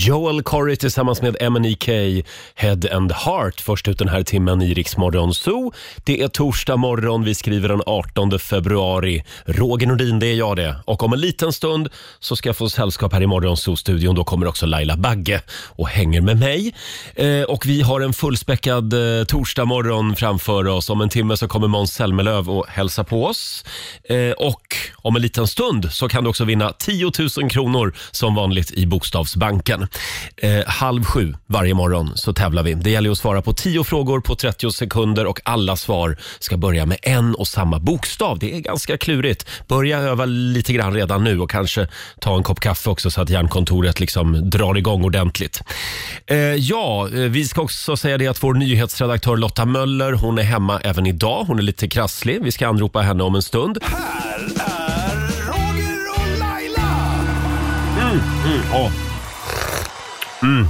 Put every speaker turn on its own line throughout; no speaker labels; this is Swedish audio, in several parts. Joel Corry tillsammans med MNEK, Head and Heart, först ut den här timmen i Riksmorgon Zoo. Det är torsdag morgon, vi skriver den 18 februari. Roger Nordin, det är jag det. Och om en liten stund så ska jag få sällskap här i Morgon Zoo-studion. Då kommer också Laila Bagge och hänger med mig. Eh, och vi har en fullspäckad eh, torsdag morgon framför oss. Om en timme så kommer Måns Zelmerlöw och hälsa på oss. Eh, och om en liten stund så kan du också vinna 10 000 kronor som vanligt i Bokstavsbanken. Eh, halv sju varje morgon så tävlar vi. Det gäller att svara på 10 frågor på 30 sekunder och alla svar ska börja med en och samma bokstav. Det är ganska klurigt. Börja öva lite grann redan nu och kanske ta en kopp kaffe också så att hjärnkontoret liksom drar igång ordentligt. Eh, ja, eh, vi ska också säga det att vår nyhetsredaktör Lotta Möller, hon är hemma även idag. Hon är lite krasslig. Vi ska anropa henne om en stund.
Roger och Laila!
Åh, Mm,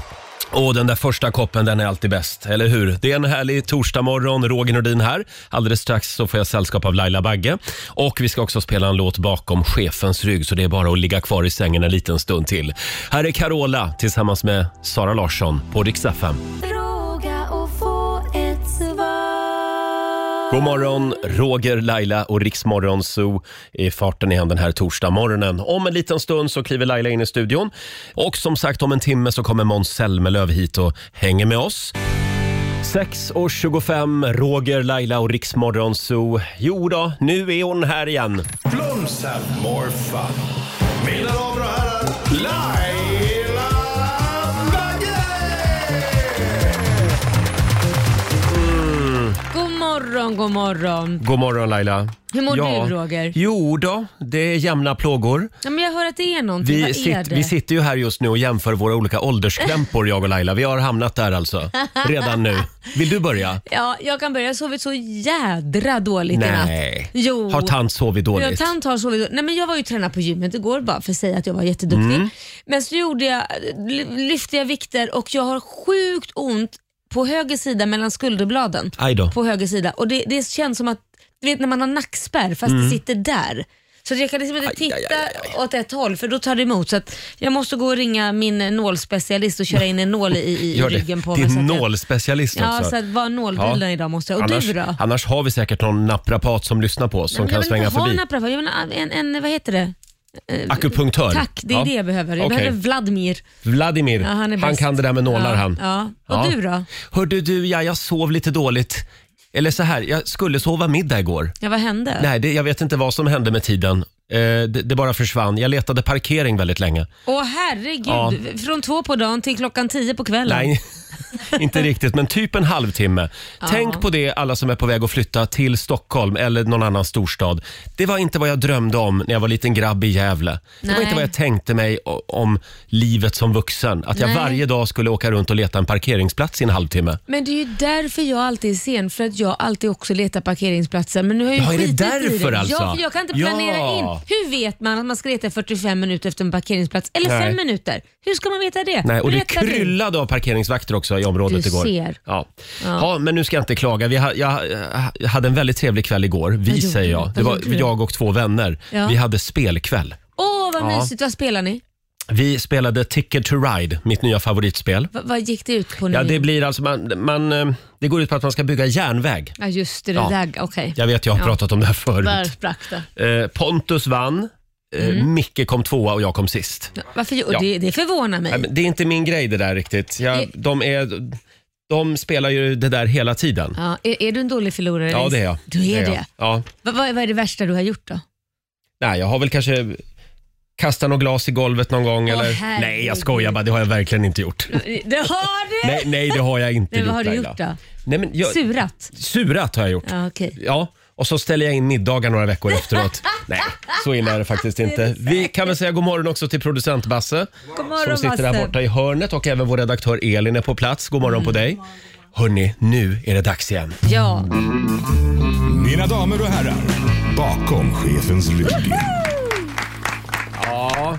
Åh, den där första koppen, den är alltid bäst, eller hur? Det är en härlig torsdagmorgon, Roger Nordin här. Alldeles strax så får jag sällskap av Laila Bagge. Och vi ska också spela en låt bakom chefens rygg, så det är bara att ligga kvar i sängen en liten stund till. Här är Carola tillsammans med Sara Larsson på Rix FM.
Fråga och få ett svar.
God morgon, Roger, Laila och Riksmorgon Zoo i farten igen den här torsdagmorgonen. Om en liten stund så kliver Laila in i studion och som sagt om en timme så kommer Måns Zelmerlöw hit och hänger med oss. 6.25, Roger, Laila och Riksmorgon Zoo. Jo då, nu är hon här igen.
Blomsamorfa. Mina damer och herrar, Laila Bagge!
God morgon, god morgon.
God morgon Laila.
Hur mår du, Roger?
Jo då, det är jämna plågor.
Ja, men jag hör att det är någonting.
Vi,
Vad är
sit,
det?
vi sitter ju här just nu och jämför våra olika ålderskrämpor, jag och Laila. Vi har hamnat där alltså, redan nu. Vill du börja?
Ja, jag kan börja. Jag har sovit så jädra dåligt i natt.
Nej.
Jo.
Har tant sovit
Ja,
dåligt?
tant har sovit dåligt. Nej, men jag var ju tränad på gymmet igår bara för att säga att jag var jätteduktig.
Mm.
Men så gjorde jag, ly- lyfte jag vikter och jag har sjukt ont på höger sida mellan skulderbladen.
Aj då.
På höger sida. Och det, det känns som att, du vet när man har nackspärr fast
Mm.
det sitter där. Så jag kan liksom inte titta åt ett håll för då tar det emot. Så att jag måste gå och ringa min nålspecialist och köra in en nål i, i
Gör det.
ryggen på
det är
mig. så att jag-
nålspecialist
Ja,
också.
så att vara
Ja.
nålbunden idag måste jag. Och
annars,
du då?
annars har vi säkert någon naprapat som lyssnar på oss som
Men jag
kan
vill
svänga
inte ha
förbi.
en apparat. Jag vill ha en, en, vad heter det? Eh,
Akupunktör.
Tack, det är
Ja.
det jag behöver. Jag
Okej.
behöver Vladimir.
Vladimir,
Ja, han är
han,
bäst.
kan det där med nålar
Ja,
han.
ja. Och du då?
Hörde du, ja, jag sov lite dåligt. Eller så här, jag skulle sova middag igår.
Ja, vad hände?
Nej, det, jag vet inte vad som hände med tiden. Eh, det, det bara försvann. Jag letade parkering väldigt länge.
Åh herregud,
Ja.
från två på dagen till klockan tio på kvällen.
Nej, inte riktigt, men typ en halvtimme. Tänk på det alla som är på väg att flytta till Stockholm eller någon annan storstad. Det var inte vad jag drömde om när jag var liten grabb i Gävle. Det var
Nej.
inte vad jag tänkte mig o- om livet som vuxen. Att jag
Nej.
varje dag skulle åka runt och leta en parkeringsplats i en halvtimme.
Men det är ju därför jag alltid är sen, för att jag alltid också letar parkeringsplatser. Men nu har jag
Ja, är
ju
det
skitit
därför
i det.
alltså?
Ja, för jag kan inte planera
Ja.
in. Hur vet man att man ska leta 45 minuter efter en parkeringsplats? Eller
Nej.
fem minuter? Hur ska man veta det?
Nej, och det
Berätta du.
kryllade av parkeringsvakter också i området
Du
igår.
ser.
Ja. Ja. men nu ska jag inte klaga. Vi ha, jag, jag hade en väldigt trevlig kväll igår. Vi
gjorde
säger
du?
jag.
Vad
Det var
gjorde du?
jag och två vänner.
Ja.
Vi hade spelkväll.
Åh, vad
Ja.
mysigt. Vad spelar ni?
Vi spelade Ticket to Ride, mitt nya favoritspel.
Va- vad gick det ut på nu?
Ja, det blir alltså man, man, eh, det går ut på att man ska bygga järnväg.
Ja, just det.
Ja.
Det där, okej.
Jag vet, jag har pratat om det här
Där
förut.
sprack det.
Eh, Pontus vann, eh,
Mm.
Micke kom tvåa och jag kom sist.
Varför? och
Ja.
Det, det förvånar mig.
Nej, men det är inte min grej det där riktigt. Jag,
Det-
de, är, de spelar ju det där hela tiden.
Ja, är, är du en dålig förlorare?
Ja,
Lisa?
det är jag.
Du är det?
Jag. Ja.
Va, va, vad är det värsta du har gjort då?
Nej, jag har väl kanske kastat något glas i golvet någon gång.
Åh,
eller?
herregud.
Nej, jag skojar bara. Det har jag verkligen inte gjort.
Det har du!
Nej, nej det har jag inte
Men
gjort
vad har du
Laila.
gjort då?
Nej, men jag,
Surat?
Surat har jag gjort.
Ja, okej.
Ja, och så ställer jag in middagar några veckor efteråt. Nej, så illa är det faktiskt inte. Vi kan väl säga god morgon också till producent Basse
God morgon,
som sitter där
Basse. Mm.
borta i hörnet och även vår redaktör Elin är på plats. God morgon på dig. Hörni, nu är det dags igen.
Ja.
Mina damer och herrar, bakom chefens rygg.
Ja,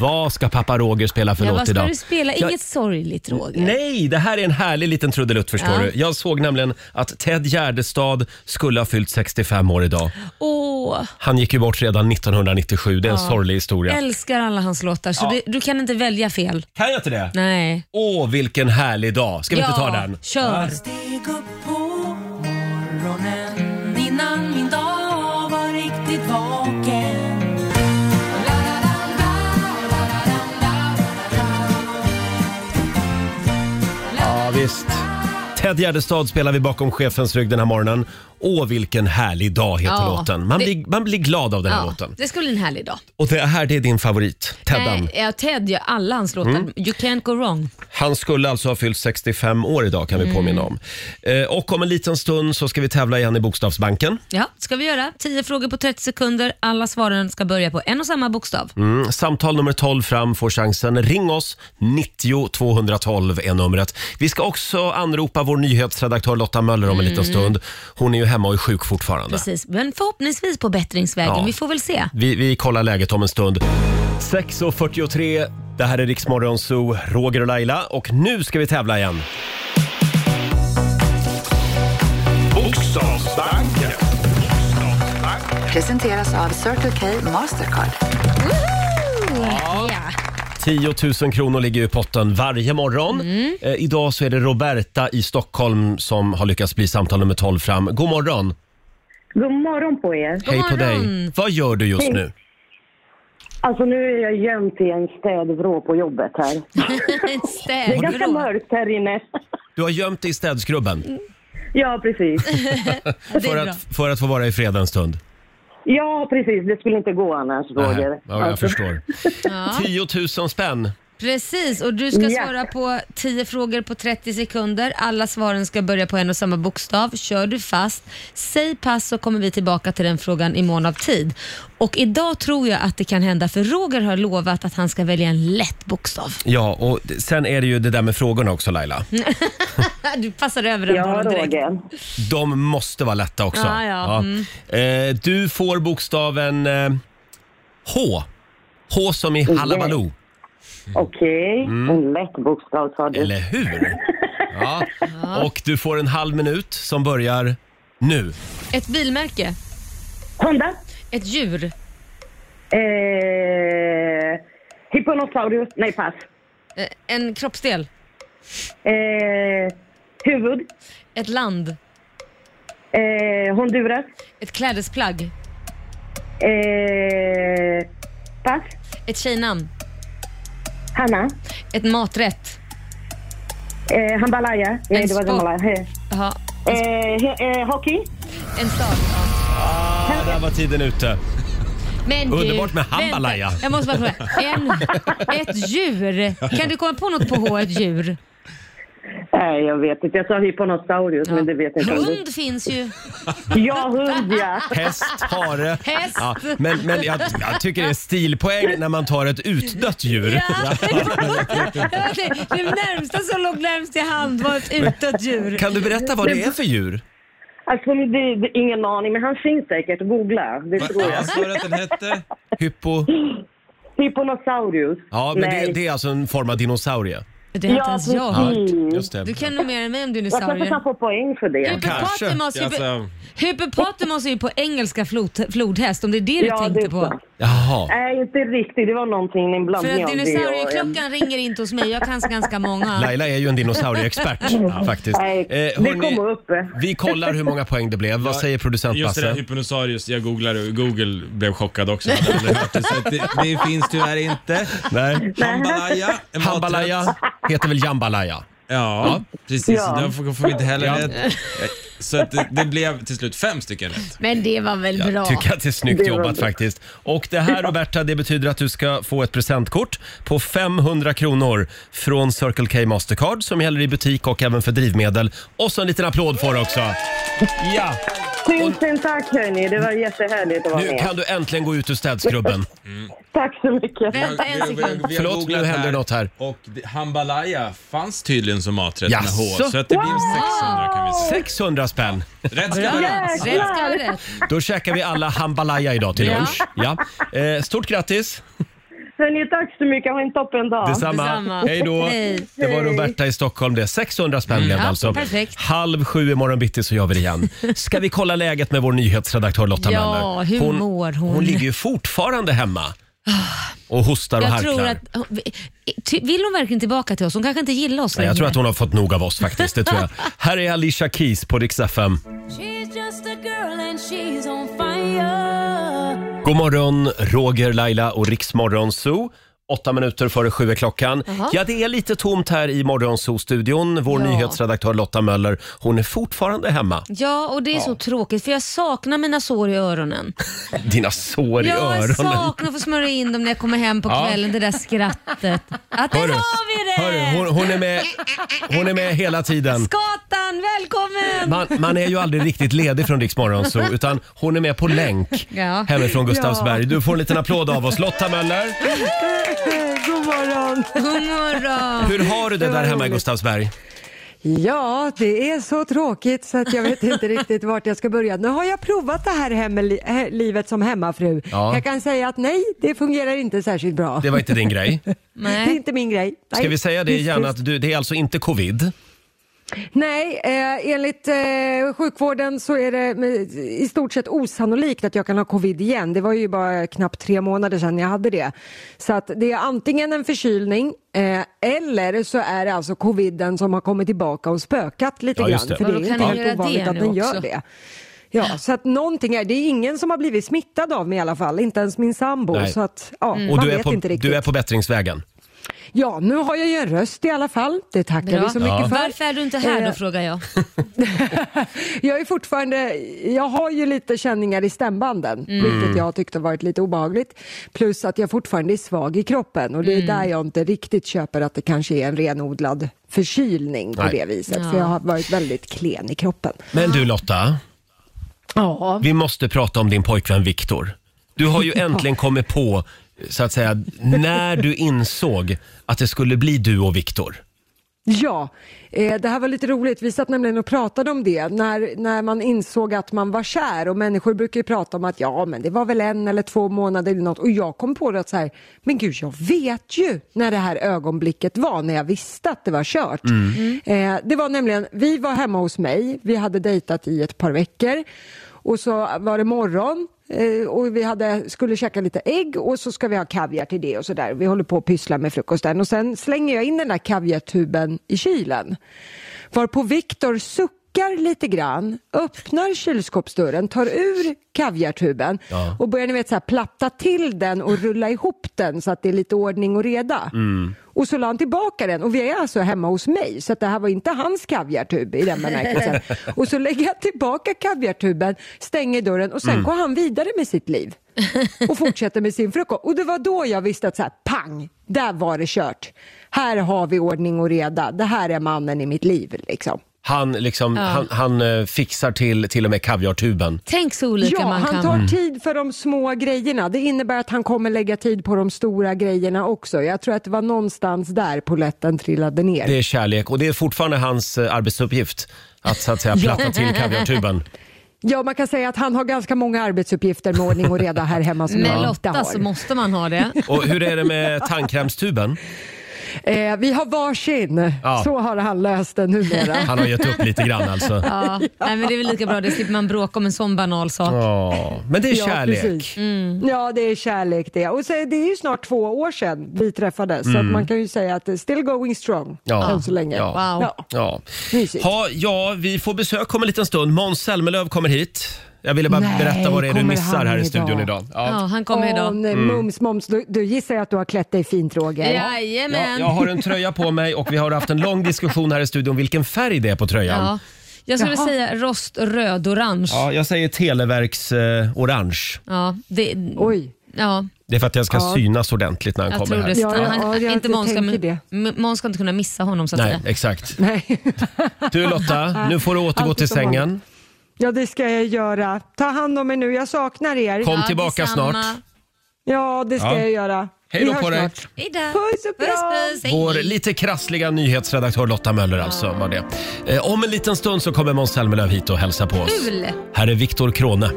Vad ska pappa Roger spela för
Ja,
låt
vad ska
idag?
du spela?
Jag-
Inget sorgligt Roger.
Nej, det här är en härlig liten trudelutt förstår
Ja.
du. Jag såg nämligen att Ted Gärdestad skulle ha fyllt 65 år idag.
Åh,
Han gick ju bort redan 1997, det är en
Ja.
sorglig historia.
älskar alla hans låtar så du, du kan inte välja fel.
Kan jag inte det?
Nej.
Åh, vilken härlig dag. Ska vi inte ta den?
kör.
Steg upp på morgonen innan min dag var riktigt vaken. La, la, la, la, la, la, la, la.
Ja, visst. Ted Gärdestad spelar vi bakom chefens rygg den här morgonen. Åh, vilken härlig dag heter
Ja.
låten. Man,
Det-
blir, man blir glad av den här
Ja,
låten.
det ska bli en härlig dag.
Och det här det är din favorit, Teddan. Mm.
Nej, ja, Ted gör alla hans låtar. You can't go wrong.
Han skulle alltså ha fyllt 65 år idag kan vi påminna
Mm.
om. Eh, och om en liten stund så ska vi tävla igen i Bokstavsbanken.
Ja, ska vi göra. 10 frågor på 30 sekunder. Alla svaren ska börja på en och samma bokstav.
Mm. Samtal nummer 12 fram får chansen. Ring oss, 90 212 är numret. Vi ska också anropa vår nyhetsredaktör Lotta Möller om en liten stund. Hon är ju hemma och är sjuk fortfarande.
Mm. Precis, men förhoppningsvis på bättringsvägen.
Ja.
Vi får väl se.
Vi, vi kollar läget om en stund. 6.43, det här är Riksmorgon Zoo, Roger och Laila och nu ska vi tävla igen.
Bokstavsbanken.
Presenteras av Circle K Mastercard.
Ja.
10 000 kronor ligger i potten varje morgon.
Mm.
Eh, idag så är det Roberta i Stockholm som har lyckats bli samtal nummer 12 fram. God morgon!
God morgon på er.
God
Hej på
morgon.
dig! Vad gör du just nu?
Alltså nu är jag gömt i en städvrå på jobbet här. Det är ganska
Städvrå.
mörkt här inne.
Du har gömt dig i städskrubben
Ja, precis.
Det
för
är bra.
att, för att få vara i fred en stund.
Ja, precis. Det skulle inte gå annars, Roger.
ja, jag
Alltså,
förstår.
Ja.
10 000 spänn.
Precis, och du ska
Ja.
svara på 10 frågor på 30 sekunder. Alla svaren ska börja på en och samma bokstav. Kör du fast, säg pass så kommer vi tillbaka till den frågan i mån av tid. Och idag tror jag att det kan hända för Roger har lovat att han ska välja en lätt bokstav.
Ja, och d- sen är det ju det där med frågorna också Laila.
Mm. Du passar över den
Ja,
bollen direkt.
Roger.
De måste vara lätta också.
Ja, ja. Mm.
Eh, du får bokstaven eh, H. H som
Mm.
i Hallabaloo,
Okej. En lätt bokstav sa du.
eller hur? Ja. Och du får en halv minut som börjar nu.
Ett bilmärke,
Honda.
ett djur,
Eh, Hipponosaurus. Nej, pass.
eh, en kroppsdel,
Eh, huvud.
ett land,
Eh, Honduras.
ett klädesplagg,
Eh, pass.
ett tjejnamn,
Hanna.
ett maträtt.
Eh, Hambalaya. Nej,
En
det var
sport.
Jambalaya. Eh,
Jaha,
he- eh, hockey.
en stad. Ja.
Ah, där var tiden ute.
Men du,
Underbart med hambalaya.
vänta, Jag måste bara fråga. En, ett djur. Kan du komma på något på H, ett djur?
Nej, jag vet inte. Jag sa hyponosaurus, men det vet inte om du...
Hund finns ju.
Ja, hund ja.
Häst, hare.
Häst.
Ja, men men jag, jag tycker det är stilpoäng när man tar ett utdött djur.
Ja. Det, det närmsta som låg närmst i hand var ett utdött djur.
Kan du berätta vad det är för djur?
Alltså, det, det, ingen aning, men han finns säkert. Googla, det tror jag.
Vad sa du att den hette?
Hypo...
Hyponosaurus.
Ja, men
Nej.
det, det är alltså en form av dinosaurie.
Det har inte
Ja,
ens jag
Ja,
hört.
precis.
just det.
Du kan nog mer än mig om
Jag kanske
dinosaurier.
kan få poäng för det.
Hippopotamus,
Kanske.
hypo-
Alltså-
Hippopotamus är ju på engelska flod, flodhäst, om det är det du
Ja, det
tänkte
är
på.
sant.
Jaha.
Nej, inte riktigt. Det var någonting, en
För
blandning
att
av det och... en-
dinosaurieklockan ringer inte hos mig, jag kan ganska många.
Laila är ju en dinosaurieexpert faktiskt. Eh,
Nej, det
hörni,
kom upp.
Vi kollar hur många poäng det blev. Vad säger producent
Just det där
Basse?
hypnosaurus, jag googlade och Google blev chockad också. Jag hade aldrig hört det, så att det, det finns tyvärr inte.
Nej.
Hambalaya. en maträtt.
Hambalaya heter väl jambalaya?
Ja, precis.
Ja.
Ja. får får vi inte heller
Ja.
rätt. Så att det, det blev till slut fem stycken rätt.
Men det var väl bra?
Tycker att det är snyggt
Det var
jobbat
bra.
faktiskt. Och det här Roberta, det betyder att du ska få ett presentkort på 500 kronor från Circle K Mastercard som gäller i butik och även för drivmedel. Och så en liten applåd får du också. Ja,
Tusen tack hörni, det var jättehärligt att vara
nu
med.
kan du äntligen gå ut ur städskrubben.
Tack så mycket.
Vänta en sekund.
har
Förlåt,
googlat
nu händer något här.
Och det- hambalaya fanns tydligen som maträtt med
Jaså?
H, så att det blev 600 kan vi säga.
600 spänn.
Rätt ska vara rätt.
Rätt ska vara rätt.
Då käkar vi alla hambalaya idag till
Ja.
lunch. Ja. Eh, stort grattis!
Hörni, tack så mycket. Ha en toppen dag.
Detsamma.
Detsamma.
Hej då.
Hej. Mm.
Det var Roberta i Stockholm det. 600 spänn blev det
Ja,
alltså.
perfekt.
Halv sju imorgon bitti så gör vi det igen. Ska vi kolla läget med vår nyhetsredaktör Lotta
Ja,
Möller?
hur mår hon?
Hon ligger ju fortfarande hemma och hostar och
Jag
harklar.
tror att, ty- vill hon verkligen tillbaka till oss? Hon kanske inte gillar oss
Nej, jag
längre.
tror att hon har fått nog av oss faktiskt. Det tror jag. Här är Alicia Keys på Dix FM.
She's just a girl and she's on fire.
God morgon, Roger, Laila och Riksmorgon Zoo. Åtta minuter före sju är klockan.
Jaha.
Ja, det är lite tomt här i Morgonzoo-studion. Vår
Ja.
nyhetsredaktör Lotta Möller, hon är fortfarande hemma.
Ja, och det är så tråkigt för jag saknar mina sår i öronen.
Dina sår i
Ja, jag
öronen.
saknar att få smörja in dem när jag kommer hem på
Ja.
kvällen, det där skrattet. Att där
Hörru,
har vi det!
Hörru, hon, hon, är med, hon är med hela tiden.
Skatan, välkommen!
Man, man är ju aldrig riktigt ledig från Riksmorgon Zoo, utan hon är med på länk
Ja.
hemifrån Gustavsberg. Du får en liten applåd av oss. Lotta Möller,
Eh, God morgon!
God morgon!
hur har du det där hemma i Gustavsberg?
Ja, det är så tråkigt så att jag vet inte riktigt vart jag ska börja. Nu har jag provat det här hemmeli- he- livet som hemmafru.
Ja.
Jag kan säga att nej, det fungerar inte särskilt bra.
Det var inte din grej.
Det är inte min grej.
Ska
Nej.
vi säga det igen att du, det är alltså inte covid?
Nej, eh, enligt eh, sjukvården så är det med- i stort sett osannolikt att jag kan ha covid igen. Det var ju bara knappt tre månader sedan jag hade det. Så att det är antingen en förkylning eh, eller så är det alltså coviden som har kommit tillbaka och spökat lite
Ja,
grann.
just det.
För det
Ja,
är
då kan
inte
den
helt
göra det
ovanligt att
nu
den gör
också.
det. Ja, så att någonting är, det är ingen som har blivit smittad av mig i alla fall, inte ens min sambo.
Nej. Mm.
Så att, ja,
Och
man
du är,
vet
på,
inte riktigt.
du är på bättringsvägen?
Ja, nu har jag ju en röst i alla fall. Det tackar
Bra.
vi så mycket för.
Varför är du inte här då
Eh,
frågar jag.
jag är fortfarande, jag har ju lite känningar i stämbanden, vilket jag tyckte varit lite obehagligt. Plus att jag fortfarande är svag i kroppen och det är där jag inte riktigt köper att det kanske är en renodlad förkylning på
Nej.
det viset.
Ja.
För jag har varit väldigt klen i kroppen.
Men du Lotta,
Ja.
vi måste prata om din pojkvän Viktor. Du har ju äntligen kommit på, så att säga, när du insåg att det skulle bli du och Viktor.
Ja, eh, det här var lite roligt. Vi satt nämligen och pratade om det när, när man insåg att man var kär och människor brukar ju prata om att ja, men det var väl en eller två månader eller något och jag kom på det att så här, men gud, jag vet ju när det här ögonblicket var när jag visste att det var kört. Eh, det var nämligen, vi var hemma hos mig, vi hade dejtat i ett par veckor och så var det morgon eh, och vi hade, skulle käka lite ägg och så ska vi ha kaviar till det och sådär. Vi håller på att pyssla med frukosten och sen slänger jag in den där kaviartuben i kylen. Varpå Viktor suckar lite grann, öppnar kylskåpsdörren, tar ur kaviartuben
Ja.
och börjar ni vet så här, platta till den och rulla ihop den så att det är lite ordning och reda.
Mm.
Och så la han tillbaka den och vi är alltså hemma hos mig så att det här var inte hans kaviartub i den bemärkelsen. och så lägger jag tillbaka kaviartuben, stänger dörren och sen
Mm.
går han vidare med sitt liv och fortsätter med sin frukost. Och det var då jag visste att så här, pang, där var det kört. Här har vi ordning och reda. Det här är mannen i mitt liv liksom.
Han, liksom, han, han eh, fixar till till och med kaviartuben.
Tänk så olika
Ja,
man
han
kan. Mm.
tar tid för de små grejerna. Det innebär att han kommer lägga tid på de stora grejerna också. Jag tror att det var någonstans där poletten trillade ner.
Det är kärlek och det är fortfarande hans eh, arbetsuppgift att, så att säga, platta till kaviartuben.
Ja, man kan säga att han har ganska många arbetsuppgifter med ordning och reda här
Mm.
hemma som
Med
jag inte
Lotta så
har.
måste man ha det.
Och hur är det med tandkrämstuben?
Eh, vi har varsin.
Ja.
Så har han löst det numera.
Han har gett upp lite grann alltså.
Ja. Nej, men det är väl lika bra, det slipper man bråka om en sån banal sak.
Ja, men det är
Ja,
kärlek.
precis.
Mm.
ja, det är kärlek det. Och så, det är ju snart två år sedan vi träffades, så att man kan ju säga att det är still going strong
Mm. Ja.
än så länge.
Ja.
Wow.
Ja.
Ja.
Mysigt.
Ha, ja, vi får besök om en liten stund. Måns Zelmerlöw kommer hit. Jag ville bara
Nej,
berätta vad det är du
kommer
missar
han
här i
idag?
studion idag.
Ja,
Ja.
han kommer
Åh,
idag.
nej, eh,
Mm.
Mums, mums, du, du gissar jag att du har klätt dig fint Roger?
Jag,
Jajamän.
jag har en tröja på mig och vi har haft en lång diskussion här i studion vilken färg det är på tröjan. Ja.
Ja. Jag skulle
Jaha.
säga roströd orange. Ja.
jag säger Televerks eh, orange.
det,
Oj.
ja,
Det är för att jag ska synas ordentligt när han
jag
kommer
tror
här.
det.
Ja, ja, ja,
han,
jag
inte Måns ska,
tänker det.
M- Måns ska inte kunna missa honom så att
Nej,
säga.
exakt.
Nej.
Du Lotta, nu får du återgå
Alltid
till
som vanligt.
sängen.
Ja, det ska jag göra. Ta hand om er nu, jag saknar er.
Kom
Ja,
tillbaka
detsamma.
snart.
Ja, det ska
Ja.
jag göra.
Hej
Vi
då
hörs
på dig.
snart.
Hej då.
Puss och kram.
puss, hej.
Vår lite krassliga nyhetsredaktör Lotta Möller alltså var det. Eh, om en liten stund så kommer Måns Zelmerlöw hit och hälsa på oss.
Kul.
Här är Viktor Krone.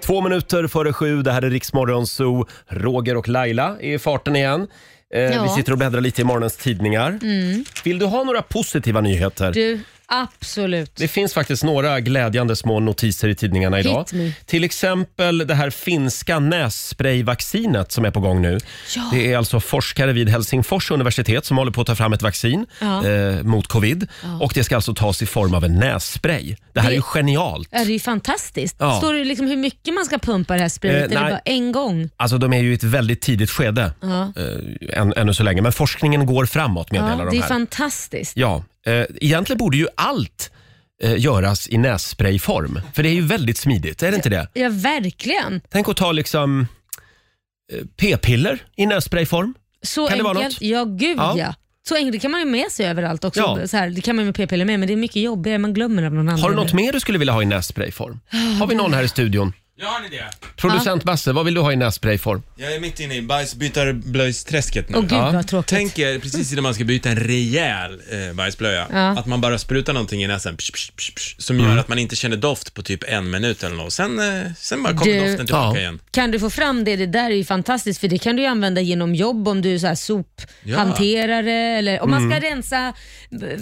Två minuter före sju, det här är Riksmorgon Zoo. Roger och Laila är i farten igen. Eh,
Ja. Mm.
Vi sitter och bläddrar lite i morgonens tidningar. Vill du ha några positiva nyheter?
Du, absolut.
Det finns faktiskt några glädjande små notiser i tidningarna idag.
Hit me.
Till exempel det här finska nässprayvaccinet som är på gång nu. Det är alltså forskare vid Helsingfors universitet som håller på att ta fram ett vaccin
Ja.
eh, mot covid. Och det ska alltså tas i form av en nässpray. Det här är ju
Det-
genialt.
Ja, det är ju fantastiskt.
Ja.
Står det liksom hur mycket man ska pumpa det här
Eh,
spritet?
nej.
eller bara en gång?
Alltså de är ju i ett väldigt tidigt skede
Ja.
eh, än, ännu så länge. Men forskningen går framåt
Ja,
meddelar
det är
de
ju
här.
fantastiskt.
Ja, eh, egentligen borde ju allt eh, göras i nässprayform. För det är ju väldigt smidigt, är det inte det?
Ja, verkligen.
Tänk att ta liksom eh, p-piller i nässprayform.
Så
Kan det vara
enkelt.
något?
Ja, gud
Ja.
ja. Så enkelt. Det kan man ju med sig överallt också.
Ja.
Så här, det kan man ju med p-piller med, men det är mycket jobbigare. Man glömmer av någon annan.
Har du något mer du skulle vilja ha i nässprayform?
Ah,
Har vi någon här i studion?
Ja, har ni det?
Producent Basse, vad vill du ha i nässprayform?
Jag är mitt inne i bajsbytarblöjsträsket nu.
Åh gud
Ja.
vad tråkigt.
Tänk er precis innan man ska byta en rejäl eh, bajsblöja,
Ja.
att man bara sprutar någonting i näsan psh, psh, psh, psh, som gör att man inte känner doft på typ en minut eller något. Sen, eh, sen bara kommer
Du-
doften tillbaka
Ja.
igen.
Kan du få fram det, det där är ju fantastiskt för det kan du ju använda genom jobb om du är så här sophanterare eller om
Mm.
man ska rensa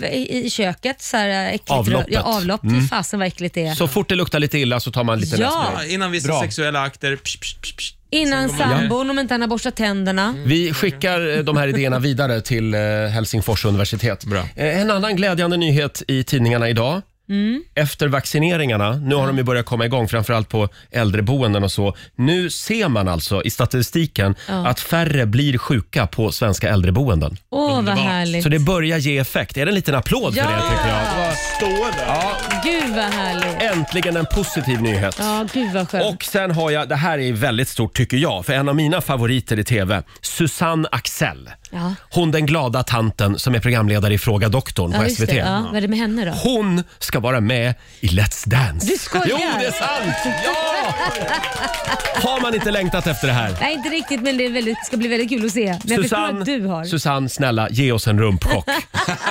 b- i i köket. Så här eh, äckligt
Avloppet. Mm.
Ja, avlopp. Fy fasen vad äckligt det är.
Så fort det luktar lite illa så tar man lite
Ja.
nässpray.
Ja, innan vissa
Bra.
sexuella akter. Psh, psh, psh, psh.
Innan
Sen går man-
sambon, om inte han har borstat tänderna.
Vi skickar eh, de här idéerna vidare till eh, Helsingfors universitet.
Bra.
Eh, En annan glädjande nyhet i tidningarna idag.
Mm.
Efter vaccineringarna, nu har de ju börjat komma igång framförallt på äldreboenden och så. Nu ser man alltså i statistiken att färre blir sjuka på svenska äldreboenden.
Åh vad
Underbart.
härligt.
Så det börjar ge effekt. Är det en liten applåd för
Ja!
det tycker jag?
Gud vad härligt.
Äntligen en positiv nyhet.
Ja, gud vad skönt.
Och sen har jag, det här är väldigt stort tycker jag, för en av mina favoriter i TV, Susanne Axel.
Ja.
Hon den glada tanten som är programledare i Fråga doktorn på
ja, just
SVT.
det. Ja, vad är det med henne då?
Hon ska vara med i Let's Dance.
Du skojar.
Jo, det är sant! Ja! Har man inte längtat efter det här?
Nej, inte riktigt men det är väldigt, ska bli väldigt kul att se. Men jag förstår att du har.
Susanne, snälla ge oss en rumpchock.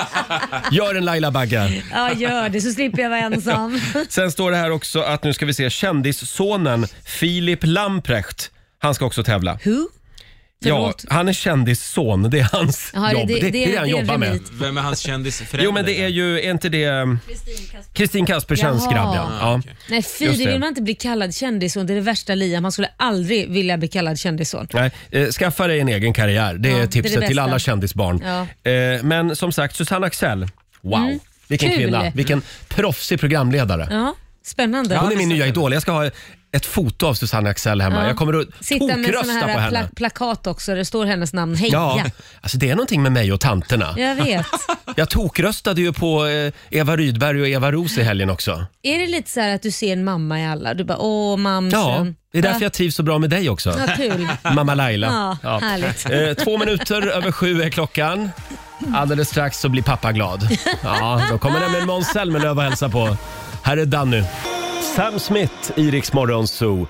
Gör en Laila Bagge.
Ja, gör det så slipper jag vara ensam.
Sen står det här också att nu ska vi se kändissonen Filip Lamprecht. Han ska också tävla.
Who?
Ja,
Förlåt.
han är kändisson. Det är hans
Ja, det-
jobb. Det,
det-
det,
det-
är det han
det är en
jobbar med.
remit.
Vem är hans kändisförälder?
Jo, men det är ju, är inte det mm, Kristin Kaspersens
Jaha.
grabb? Ja.
Ah,
Ja.
okej.
Nej fy,
Just
det
det.
vill man inte bli kallad kändisson. Det är det värsta Liam. Man skulle aldrig vilja bli kallad kändisson.
Nej, eh, skaffa dig en egen karriär. Det är
det är det
tipset till
bästa.
alla kändisbarn.
Ja. Mm.
Eh, men som sagt, Susanne Axel. Wow, vilken
Kul.
kvinna. Vilken proffsig programledare.
Ja, spännande.
Hon är min nya idol. Jag ska ha ett foto av Susanne Axel hemma.
Ja.
Jag kommer att
Sitta med såna
tokrösta på
här
henne.
pla- plakat också. Det står hennes namn. Heja.
Ja, alltså det är någonting med mig och tanterna.
Jag vet.
Jag tokröstade ju på eh, Eva Rydberg och Eva Roos i helgen också.
Är det lite så här att du ser en mamma i alla? Du bara, åh mamsen.
Ja, det är därför jag trivs så bra med dig också.
Ja, kul.
Mamma Laila.
Ja, härligt.
Eh, Två minuter över sju är klockan. Alldeles strax så blir pappa glad. Ja, då kommer nämligen Måns Zelmerlöw och hälsa på. Här är Danny. Sam Smith i Rix Morgon Zoo.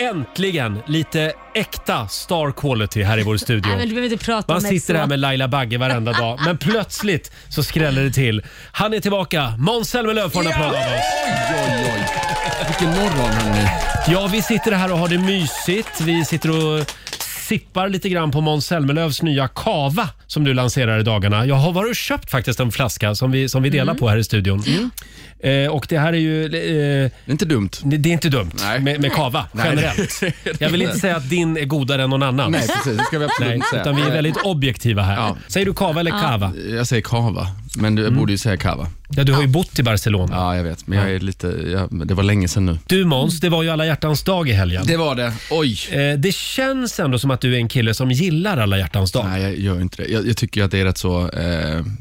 Äntligen lite äkta star quality här i vår studio.
Nej, men du behöver inte prata
Man
om mig
sitter
så.
här med Laila Bagge varenda dag, men plötsligt så skräller det till. Han är tillbaka. Måns Zelmerlöw får en applåd av oss.
Vilken morgon hörni.
Ja, vi sitter här och har det mysigt. Vi sitter och sippar lite grann på Måns Zelmerlöws nya kava som du lanserar i dagarna. Jag har varit och köpt faktiskt en flaska som vi, som vi delar
Mm.
på här i studion. Eh, och det här är ju... Eh,
Det är inte dumt.
det det är inte dumt
Nej.
med, med kava generellt. Jag vill inte säga att din är godare än någon annan.
Nej precis, det ska vi absolut
Nej,
inte säga.
utan vi är väldigt objektiva här.
Ja.
Säger du kava eller kava?
Jag säger kava, men du, jag borde ju säga kava.
Ja, du har ju bott i Barcelona.
Mm. Ja, jag vet, men jag är lite, jag, det var länge sedan nu.
Du Måns, det var ju alla hjärtans dag i helgen.
Det var det, oj.
Eh, det känns ändå som att du är en kille som gillar alla hjärtans dag.
Nej, jag gör inte det. Jag, jag tycker att det är rätt så, eh,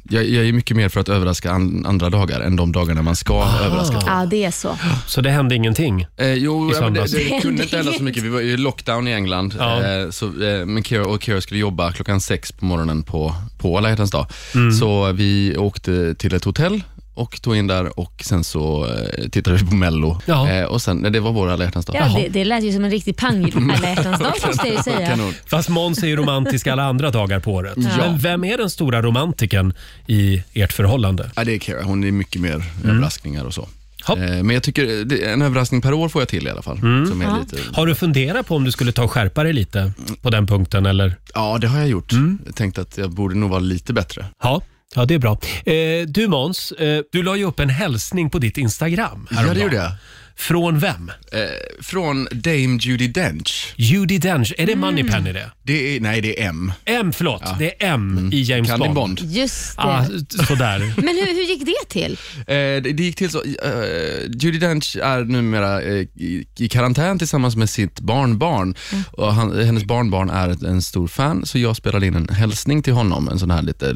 jag, jag är mycket mer för att överraska an, andra dagar än de dagarna man ska
Ah.
överraska.
Ja, det är så.
Så det hände ingenting?
Eh, jo,
I
ja, men det,
söndags.
det kunde inte hända så mycket. Vi var ju i lockdown i England.
Ja.
Eh, så, eh, men Kira, och Kira skulle jobba klockan sex på morgonen på, på alla hjärtans dag.
Mm.
Så vi åkte till ett hotell och tog in där och sen så eh, tittade vi på Mello.
Ja.
Eh, och sen, nej, det var vår alla hjärtans dag.
Ja, det, det lät ju som en riktig pang
Mm.
alla hjärtans dag måste jag ju säga.
Kanon.
Fast Måns är ju romantisk alla andra dagar på året. Men vem är den stora romantiken i ert förhållande? Mm.
Ja, det är Kira. Hon är mycket mer överraskningar och så.
Hopp.
Eh, Men jag tycker det- en överraskning per år får jag till i alla fall.
Mm.
Som är lite,
Har du funderat på om du skulle ta och skärpa dig lite på den punkten eller?
ja, det har jag gjort. Jag tänkte att jag borde nog vara lite bättre.
Ja. Ja, det är bra. Eh, du Måns, eh, du la ju upp en hälsning på ditt Instagram
Ja, det
häromdagen.
gjorde jag.
Från vem?
Eh, Från Dame Judi Dench.
Judi Dench. Är det
Mm.
Moneypenny det?
Det är, nej, det är M.
M, förlåt. Det är M
Mm.
i James
Kan ni
Bond.
Bond?
Just det.
Ah, sådär.
Men hur, hur gick det till?
Eh, det, det gick till så. Eh, Judi Dench är numera eh, i, i karantän tillsammans med sitt barnbarn. Och han, hennes barnbarn är ett, en stor fan, så jag spelade in en hälsning till honom. En sån här lite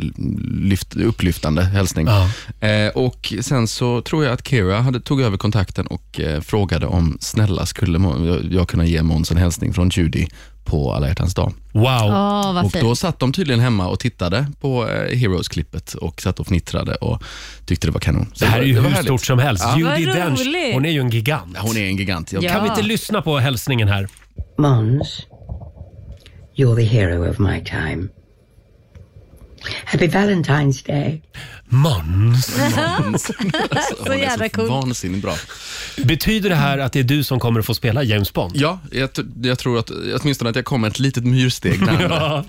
lyft, upplyftande hälsning.
Ja.
Eh, och Sen så tror jag att Kira hade, tog över kontakten och eh, frågade om snälla skulle Mo- jag, jag kunna ge Måns en hälsning från Judy på alla hjärtans dag.
Wow.
Åh, vad
Och
fint.
då satt de tydligen hemma och tittade på eh, Heroes-klippet och satt och fnittrade och tyckte det var kanon. Så
Det här är ju
var-
hur
var härligt.
stort som helst.
Ja.
Judi
Vad
Dench,
roligt.
hon är ju en gigant.
Hon är en gigant. Jag
Ja.
Kan vi inte lyssna på hälsningen här?
Mons, you're the hero of my time. Happy Valentine's Day.
Måns.
Hon är
jävla cool.
vansinnigt bra.
Betyder det här att det är du som kommer att få spela James Bond?
Ja, jag, t- jag tror att åtminstone att jag kommer ett litet myrsteg närmare.
Ja,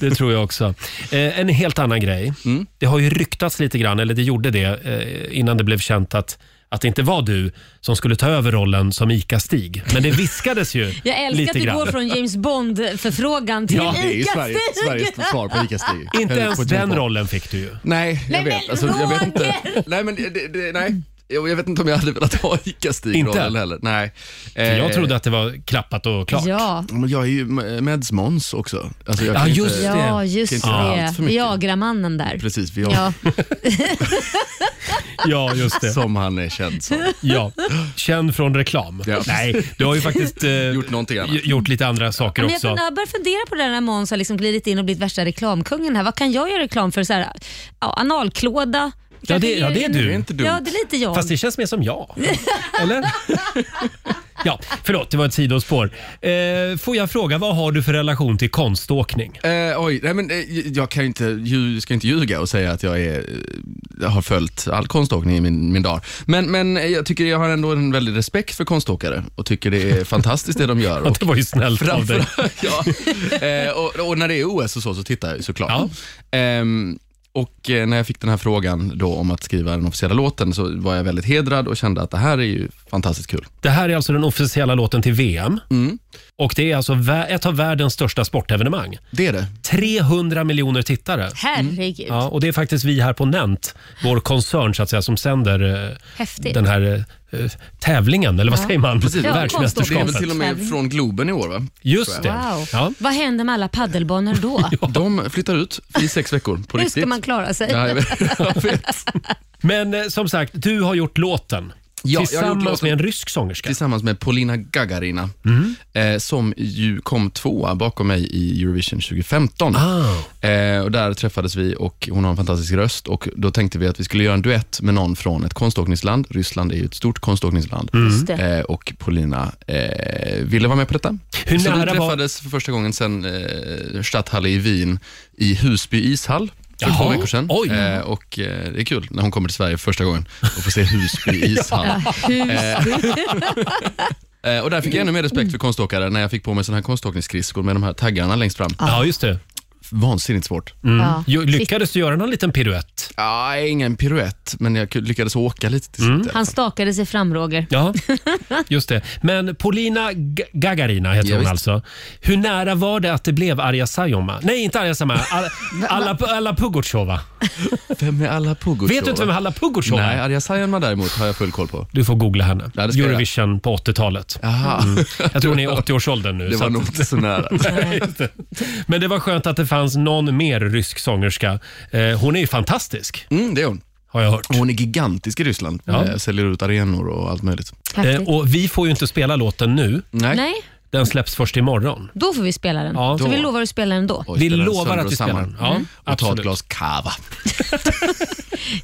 det tror jag också. Eh, en helt annan grej.
Mm.
Det har ju ryktats lite grann, eller det gjorde det, eh, innan det blev känt att, att det inte var du som skulle ta över rollen som ICA-Stig. Men det viskades ju
Jag älskar
lite
att du
grann.
går från James Bond-förfrågan till
Ja,
ja,
Det är ju Sverige,
ICA-Stig.
Sveriges svar på ICA-Stig.
Inte
Eller
ens
på
den
Jimbo.
rollen fick du ju.
Nej, jag
Nej,
vet.
men
Alltså, jag vet inte.
Roger!
Nej, men det, det, nej. Jag jag vet inte om jag hade velat ha ICA-Stig-rollen
Inte?
heller. Nej.
För Jag
Eh,
trodde att det var klappat och klart.
Ja.
men Jag är ju medsmons också. Alltså, jag
Ja,
kan ju
just
inte,
det.
Ja,
kan
just
inte göra
det.
allt för mycket.
Viagramannen där.
Precis, vi har,
Ja.
Ja, just det.
som han är känd som.
Ja. Känd från reklam.
Ja.
Nej, du har ju faktiskt eh,
Gjort någonting annat.
gj- gjort lite andra saker
Men jag,
också.
fun- jag börjar fundera på det här när Måns har liksom glidit in och blivit värsta reklamkungen här. Vad kan jag göra reklam för? Så här, ja, analklåda?
Ja, det,
Kanske
ja, det är
en-
du.
Det är inte dumt.
Ja, det är lite jag.
Fast det känns mer som jag. Eller? Ja, förlåt, det var ett sidospår. Eh, får jag fråga, vad har du för relation till konståkning?
Eh, oj, nej men eh, jag kan ju inte, lju- ska inte ljuga och säga att jag, är, eh, jag har följt all konståkning i min, min dag. Men, men eh, jag tycker jag har ändå en väldig respekt för konståkare och tycker det är fantastiskt det de gör.
Ja,
Och
det var ju snällt av dig.
ja, eh, och, och när det är OS och så, så tittar jag ju såklart.
Ja.
Ehm, och eh, när jag fick den här frågan då om att skriva den officiella låten så var jag väldigt hedrad och kände att det här är ju fantastiskt kul.
Det här är alltså den officiella låten till VM. Och det är alltså vä- ett av världens största sportevenemang.
Det är det.
300 miljoner tittare.
Herregud.
mm. Ja, och det är faktiskt vi här på Nent, vår koncern så att säga, som sänder eh,
Häftigt.
den här eh, tävlingen, eller vad säger man?
Precis. Ja, Det är väl
Världsmästerskapet.
till och med från Globen i år va?
Just det.
Wow.
Ja.
Vad händer med alla paddelbanor då?
De flyttar ut i sex veckor på
Hur
riktigt.
ska man klara sig?
Ja, jag vet. Jag vet.
Men eh, som sagt, du har gjort låten.
jag har gjort
tillsammans
låten.
med en rysk sångerska.
Tillsammans med Polina Gagarina, eh, som ju kom tvåa bakom mig i Eurovision 2015.
Ah.
Eh, och där träffades vi och hon har en fantastisk röst och då tänkte vi att vi skulle göra en duett med någon från ett konståkningsland. Ryssland är ju ett stort konståkningsland.
det.
Eh, och Polina eh, ville vara med på detta.
Hur
Så vi
nära var-
träffades för första gången sen eh, Stadthalle i Wien i Husby ishall. För
Jaha.
två veckor sedan.
Oj.
Eh, och eh, det är kul när hon kommer till Sverige för första gången och får se Husby ishall. Eh, och där fick jag ännu mer respekt för konståkare när jag fick på mig såna här konståkningsskridskor med de här taggarna längst fram.
Ja, Mm. just det.
Vansinnigt svårt.
Ja.
Jo, lyckades du göra någon liten piruett?
Ah, ingen piruett, men jag lyckades åka lite till mm.
Han stakade sig fram Roger.
Ja, just det. Men Polina G- Gagarina heter
Ja,
hon
visst.
alltså. Hur nära var det att det blev Arja Saijonmaa? Nej, inte Arja Saijonmaa. Alla, alla, alla Pugotjova.
Vem är alla Pugotjova?
Vet du inte vem Alla Pugotjova
Nej,
är?
Arja Saijonmaa däremot har jag full koll på.
Du får googla henne.
Ja, det ska jag
Eurovision på 80-talet.
Aha.
Mm. Jag tror hon är i 80-årsåldern nu.
Det
så
var
att-
nog inte så nära.
Men det var skönt att det fanns någon mer rysk sångerska. Eh, Hon är ju fantastisk,
Mm, det är hon.
har jag hört.
Hon är gigantisk i Ryssland. Eh, Säljer ut arenor och allt möjligt.
Eh,
Häftigt.
Och vi får ju inte spela låten nu.
Nej.
Nej,
Den släpps först imorgon.
då får vi spela den.
Ja.
så vi
Då.
lovar att spela den då.
Oj,
Vi
spelar den
lovar
sönder
att vi
och
spelar
samman. Mm.
den. Ja,
Och ta ett
absolut.
glas kava.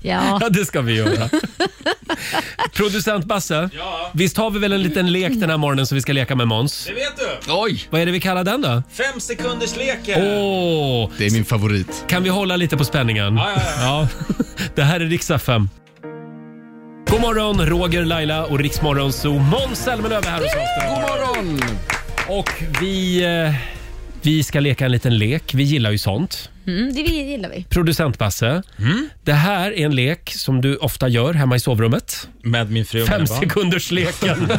Ja.
Ja, det ska vi göra. Producent Basse,
Ja.
visst har vi väl en liten lek den här morgonen som vi ska leka med Måns?
Det vet du!
Oj!
Vad är det vi kallar den då?
Fem sekunders leken!
Åh,
Det är min favorit.
kan vi hålla lite på spänningen? Ja, Det här är Riksa 5. God God morgon, Roger, Laila och Riksmorgon Zoo. Måns Zelmerlöw är här hos oss. God
morgon!
Och vi, eh, vi ska leka en liten lek. Vi gillar ju sånt.
Mm, det gillar vi.
Producent Basse,
Mm.
det här är en lek som du ofta gör hemma i sovrummet.
Med min fru. och mina
Fem
barn.
sekunders leken.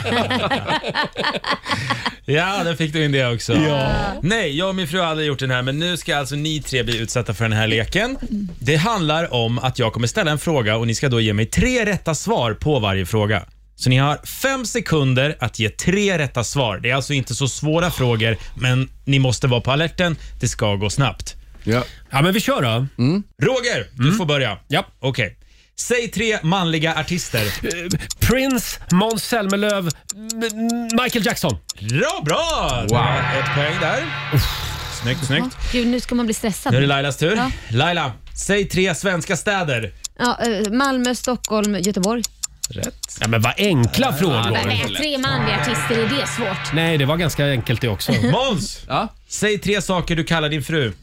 Ja, där fick du in det också. Nej, jag och min fru har aldrig gjort den här, men nu ska alltså ni tre bli utsatta för den här leken. Det handlar om att jag kommer ställa en fråga och ni ska då ge mig tre rätta svar på varje fråga. Så ni har fem sekunder att ge tre rätta svar. Det är alltså inte så svåra frågor, men ni måste vara på alerten. Det ska gå snabbt.
Ja,
ja men vi kör då.
Roger, du får börja.
Ja.
Okej. Säg tre manliga artister.
Prince, Måns Zelmerlöw, m- m- Michael Jackson.
Bra, bra!
Wow.
Ett poäng där. Snyggt, snyggt.
Gud, nu ska man bli stressad.
Nu är det Lailas tur.
Ja.
Laila, säg tre svenska städer.
Ja, eh, Malmö, Stockholm, Göteborg.
Rätt.
Ja, men vad enkla frågor.
Nej, tre manliga artister, är det svårt?
Nej, det var ganska enkelt det också.
Måns,
Ja.
säg tre saker du kallar din fru.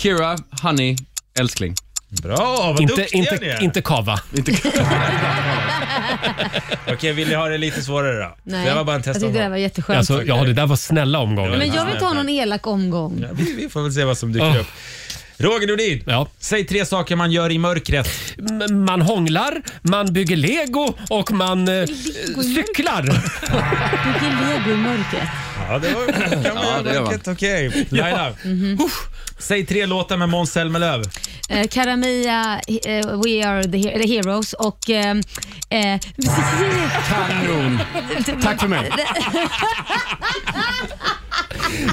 Kira, honey, älskling.
Bra, vad
Inte,
duktiga ni
inte,
är.
inte kava.
Okej, vill ni ha det lite svårare då?
Nej.
Det var bara en
Jag
testomgång.
tyckte det var jätteskönt.
Alltså, ja, det där var snälla
Det
omgångar.
var-
Men jag vill inte ha någon elak omgång.
Ja, vi, vi får väl se vad som dyker
Oh.
upp. Roger Nordin,
Ja.
säg tre saker man gör i mörkret.
M- Man hånglar, man bygger lego och man eh, cyklar.
Vilken lego i mörkret.
Ja, det var kan man
Ja,
göra
det gör man.
mörkret, Okej. Laila,
Mhm.
usch, säg tre låtar med Måns Zelmerlöw.
Eh, Karamia, eh, We Are The he- eller Heroes och... Eh, eh,
Kanon. Tack för mig.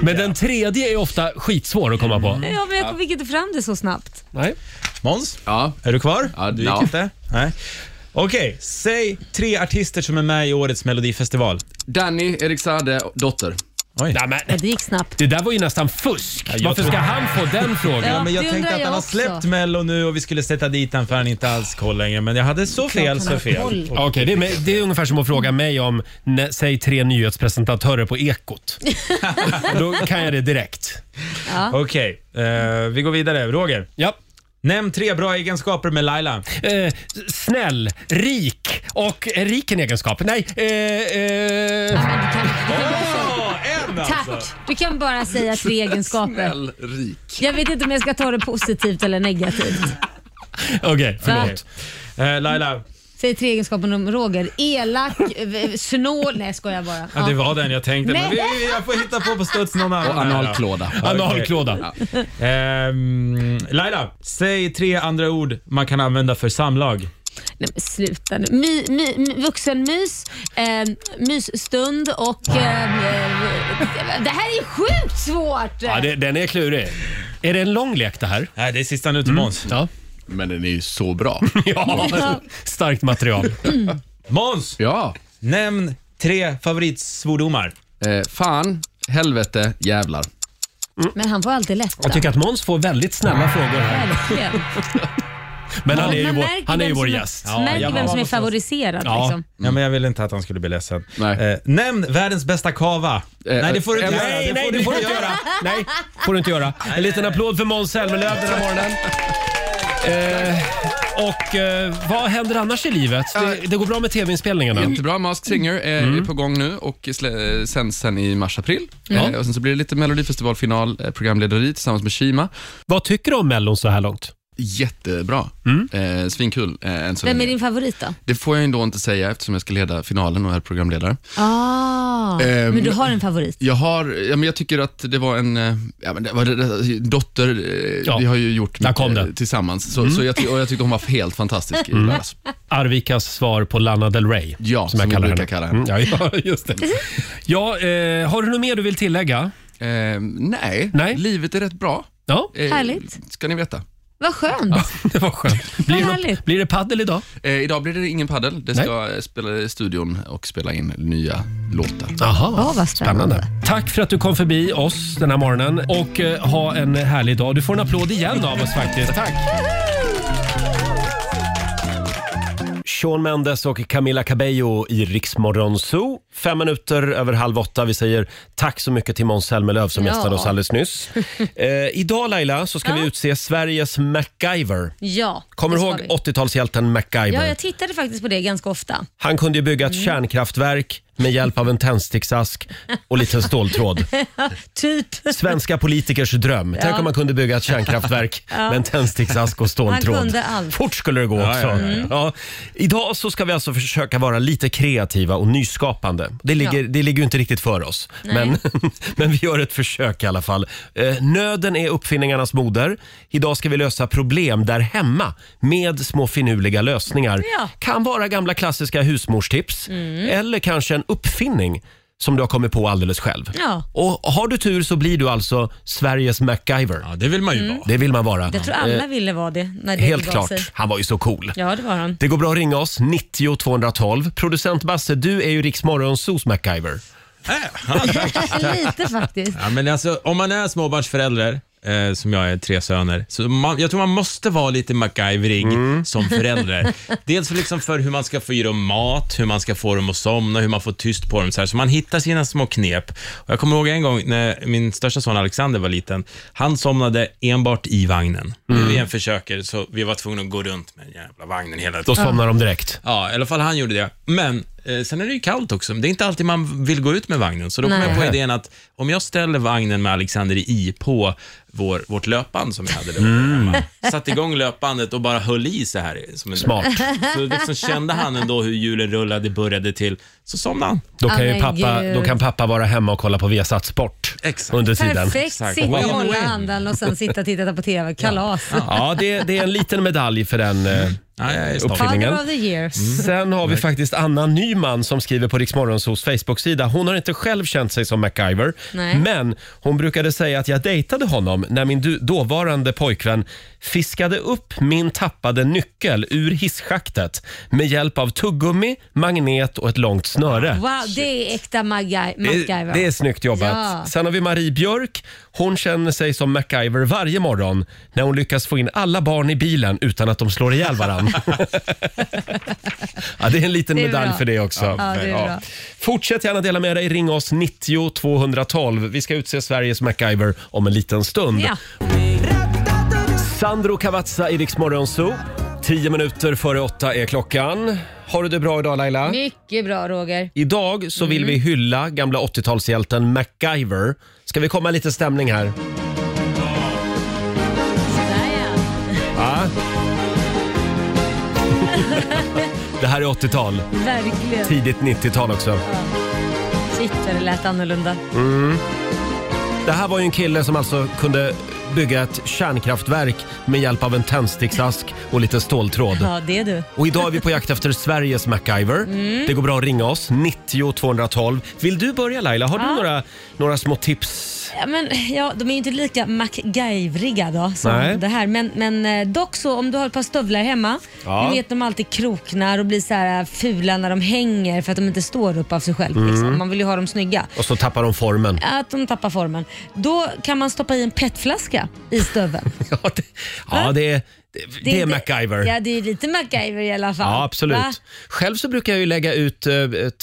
Men den tredje är ofta skitsvår att komma
Mm.
på.
ja, men jag fick inte fram det så snabbt.
Nej.
Måns,
Ja,
är du kvar?
Ja,
du gick
ja.
inte? Nej. Okej, säg tre artister som är med i årets melodifestival.
Danny, Erik Saade, dotter.
Oj.
Nej, men,
Ja, det gick snabbt.
det där var ju nästan fusk.
jag
Varför
tror-
ska han få den
Ja,
frågan?
men jag
det
tänkte
undrar
att han
jag
har
också.
släppt Mello nu och vi skulle sätta dit han för han är inte alls koll längre. Men jag hade så fel
han
så
har
fel.
koll.
Okej, det, är med- det är ungefär som att fråga mig om nä- säg tre nyhetspresentatörer på Ekot. Då kan jag det direkt.
Okej, eh, vi går vidare. Roger,
Ja.
nämn tre bra egenskaper med Laila.
Eh, s- snäll, rik och eh, rik en egenskap. Nej, eh, eh,
Ja, men du kan, du kan,
Åh, en alltså!
tack! Du kan bara säga tre egenskaper.
Snäll, rik.
Jag vet inte om jag ska ta det positivt eller negativt.
okej, förlåt.
Eh, Laila,
Säg tre egenskaper om Roger. Elak, eh, snål... Nej, skojar jag bara.
ja, det
Ja.
var den jag tänkte. Men
Nej.
vi, vi, jag får hitta på på studs någon annan.
Och analklåda.
Ja, okej.
Analklåda.
Ehm, Laila, säg tre andra ord man kan använda för samlag.
Nej, men sluta nu. My, my, my, vuxenmys, eh, mysstund och... Eh, eh, det här är ju sjukt svårt!
Ja, det, den är klurig. Är det en lång lek det här?
Nej, det är sista nu till Måns.
Ja.
Men den är ju så bra.
ja. Starkt material.
Måns,
Ja.
nämn tre favoritsvordomar.
Eh, fan, helvete, jävlar.
Men han får alltid lätta.
Jag tycker att Måns får väldigt snälla frågor här.
Verkligen.
Men han är ju
Man
vår,
märker
han är ju
vem
vår
som
gäst.
Ja,
märker
jag
vem som är
någonstans.
favoriserad.
Ja.
Liksom.
Ja, men jag ville inte att han skulle bli ledsen.
Nej.
Eh, nämn världens bästa kava. nej, det får du inte
eh,
göra.
Nej,
Det
nej,
får
det får du inte göra. Nej, får du inte göra. En liten applåd för Måns Zelmerlöw den här morgonen. Eh, och eh, vad händer annars i livet? Det, det går bra med tv-inspelningarna.
Jättebra. Masked Singer eh,
Mm.
är på gång nu och slä- eh, sänds sen i mars-april. Eh, och sen så blir det lite Melodifestivalfinal, eh, programlederi tillsammans med Kima.
Vad tycker du om Mellon så här långt?
Jättebra.
Mm.
Eh, svinkul eh, än så
Vem är
länge.
din favorit då?
Det får jag ändå inte säga eftersom jag ska leda finalen och är programledare.
Ah,
Ehm,
men du har en favorit.
Jag har, ja, men jag tycker att det var en, eh, ja, men det var, det- det, dotter, eh,
Ja.
vi har ju gjort
Där kom Mm. den.
eh, tillsammans. Så, så jag, ty- och jag tyckte hon var helt fantastisk i lördags.
Arvikas svar på Lana Del Rey.
Ja, som vi brukar kalla henne.
Mm, ja, ja, just det. Ja, eh, har du något mer du vill tillägga?
Eh, nej,
Nej.
livet är rätt bra.
Ja,
Eh,
Härligt.
Ska ni veta.
Vad skönt.
det var skönt. Blir, det,
härligt.
blir det paddel idag?
Eh, idag blir det ingen paddel. Det
Nej.
ska eh, spela i studion och spela in nya låtar.
Aha,
Ja, vad spännande.
Tack för att du kom förbi oss den här morgonen och eh, ha en härlig dag. Du får en applåd igen av oss faktiskt. Tack! Sean Mendes och Camila Cabello i Riksmorgon Zoo. Fem minuter över halv åtta. Vi säger tack så mycket till Måns Zelmerlöw som
Ja.
gästade oss alldeles nyss. Eh, idag Laila så ska vi utse Sveriges MacGyver.
Ja,
Kommer
det
du
ska
ihåg
vi.
80-talshjälten MacGyver?
Ja, jag tittade faktiskt på det ganska ofta.
Han kunde ju bygga ett
Mm.
kärnkraftverk med hjälp av en tändsticksask och lite ståltråd.
typ.
Svenska politikers dröm. Tänk
Ja.
om man kunde bygga ett kärnkraftverk
Ja.
med en tändsticksask och ståltråd.
Han kunde allt.
Fort skulle det gå
Ja,
också.
ja,
Ja,
ja, ja.
Idag så ska vi alltså försöka vara lite kreativa och nyskapande. Det ligger,
Ja.
det ligger ju inte riktigt för oss,
Nej.
men, men vi gör ett försök i alla fall. Eh, nöden är uppfinningarnas moder. Idag ska vi lösa problem där hemma med små finurliga lösningar.
Ja.
Kan vara gamla klassiska husmorstips
Mm.
eller kanske en uppfinning som du har kommit på alldeles själv.
Ja.
Och har du tur så blir du alltså Sveriges MacGyver. Ja, det vill man ju
Mm.
vara. Det vill man vara.
Jag tror alla
Eh,
ville vara det när det
Helt
begav
klart.
sig.
Han var ju så cool.
Ja, det var han.
Det går bra att ringa oss, 90 212. Producent Basse, du är ju Riksmorgonsos MacGyver.
Lite faktiskt.
Ja, men alltså, om man är småbarnsförälder, eh, som jag är tre söner, så man, jag tror man måste vara lite MacGyvering
Mm.
som förälder. Dels för, liksom för hur man ska få i dem mat, hur man ska få dem att somna, hur man får tyst på dem. Så, här. så man hittar sina små knep. Och jag kommer ihåg en gång när min största son Alexander var liten, han somnade enbart i vagnen.
Mm.
Hur vi än försöker, så vi var tvungna att gå runt med den jävla vagnen hela
Då somnar de direkt.
Ja, i alla fall han gjorde det. Men eh, sen är det ju kallt också. Det är inte alltid man vill gå ut med vagnen. Så då kom
Nej.
jag på idén att om jag ställer vagnen med Alexander i på vår, vårt löpband som vi hade då.
Mm.
Satte igång löpbandet och bara höll i så här. Som en,
Smart.
Så liksom kände han ändå hur hjulen rullade, började till. Så somnade han.
Då kan, ju pappa, då kan pappa vara hemma och kolla på Viasat Sport under tiden.
Perfekt. Sitta och hålla andan och sen sitta och titta på TV. Kalas.
Ja, det, det är en liten medalj för den eh, uppfinningen. Mm.
Father of the year.
Sen har vi faktiskt Anna Nyman som skriver på Riksmorgonsos Facebook-sida. Hon har inte själv känt sig som MacGyver,
Nej.
men hon brukade säga att jag dejtade honom när min du- dåvarande pojkvän fiskade upp min tappade nyckel ur hisschaktet med hjälp av tuggummi, magnet och ett långt snöre.
Wow, det är äkta MacGy- MacGyver.
Det, det är snyggt jobbat.
Ja.
Sen har vi Marie Björk. Hon känner sig som MacGyver varje morgon när hon lyckas få in alla barn i bilen utan att de slår ihjäl varandra. ja, det är en liten
Det är
medalj
bra.
för det också.
Ja, det är bra.
Fortsätt gärna dela med dig. Ring oss 90 212. Vi ska utse Sveriges MacGyver om en liten stund.
Ja.
Sandro Cavazza i Rix Morgon Zoo. 10 minuter före åtta är klockan. Har du det bra idag Laila?
Mycket bra Roger.
Idag så vill
Mm.
vi hylla gamla 80-talshjälten MacGyver. Ska vi komma lite stämning här? Ja. Det här är 80-tal.
Verkligen.
Tidigt 90-tal också.
Shit vad det lät annorlunda.
Mm. Det här var ju en kille som alltså kunde bygga ett kärnkraftverk med hjälp av en tändsticksask och lite ståltråd.
Ja, det är du.
Och idag är vi på jakt efter Sveriges MacGyver.
Mm.
Det går bra att ringa oss, 90 212. Vill du börja Laila? Har du
Ja.
några, några små tips
Ja, men, ja, de är ju inte lika MacGyveriga då, som
Nej.
det här. Men, men eh, dock så om du har ett par stövlar hemma,
Ja.
ni vet de alltid kroknar och blir så här eh, fula när de hänger för att de inte står upp av sig själv.
Mm.
Liksom. Man vill ju ha dem snygga.
och så tappar de formen?
Att de tappar formen. Då kan man stoppa i en petflaska i stöveln.
Ja, det är, det, det är
inte-
MacGyver.
Ja, det är lite MacGyver i alla fall.
Ja, absolut.
Va?
Själv så brukar jag ju lägga ut eh,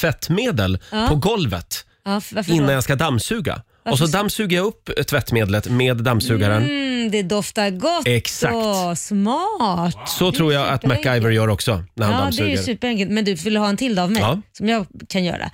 tvättmedel
Ja.
på golvet
Ja, f- varför
innan
då?
jag ska dammsuga.
Varför
Och så
så?
dammsuger jag upp eh, tvättmedlet med dammsugaren.
Mm, det doftar gott
Exakt.
och smart.
Så tror jag att
superenkelt.
MacGyver gör också när han
ja, det är
dammsuger.
ju superenkelt. Men du vill ha en till av mig
Ja.
som jag kan göra.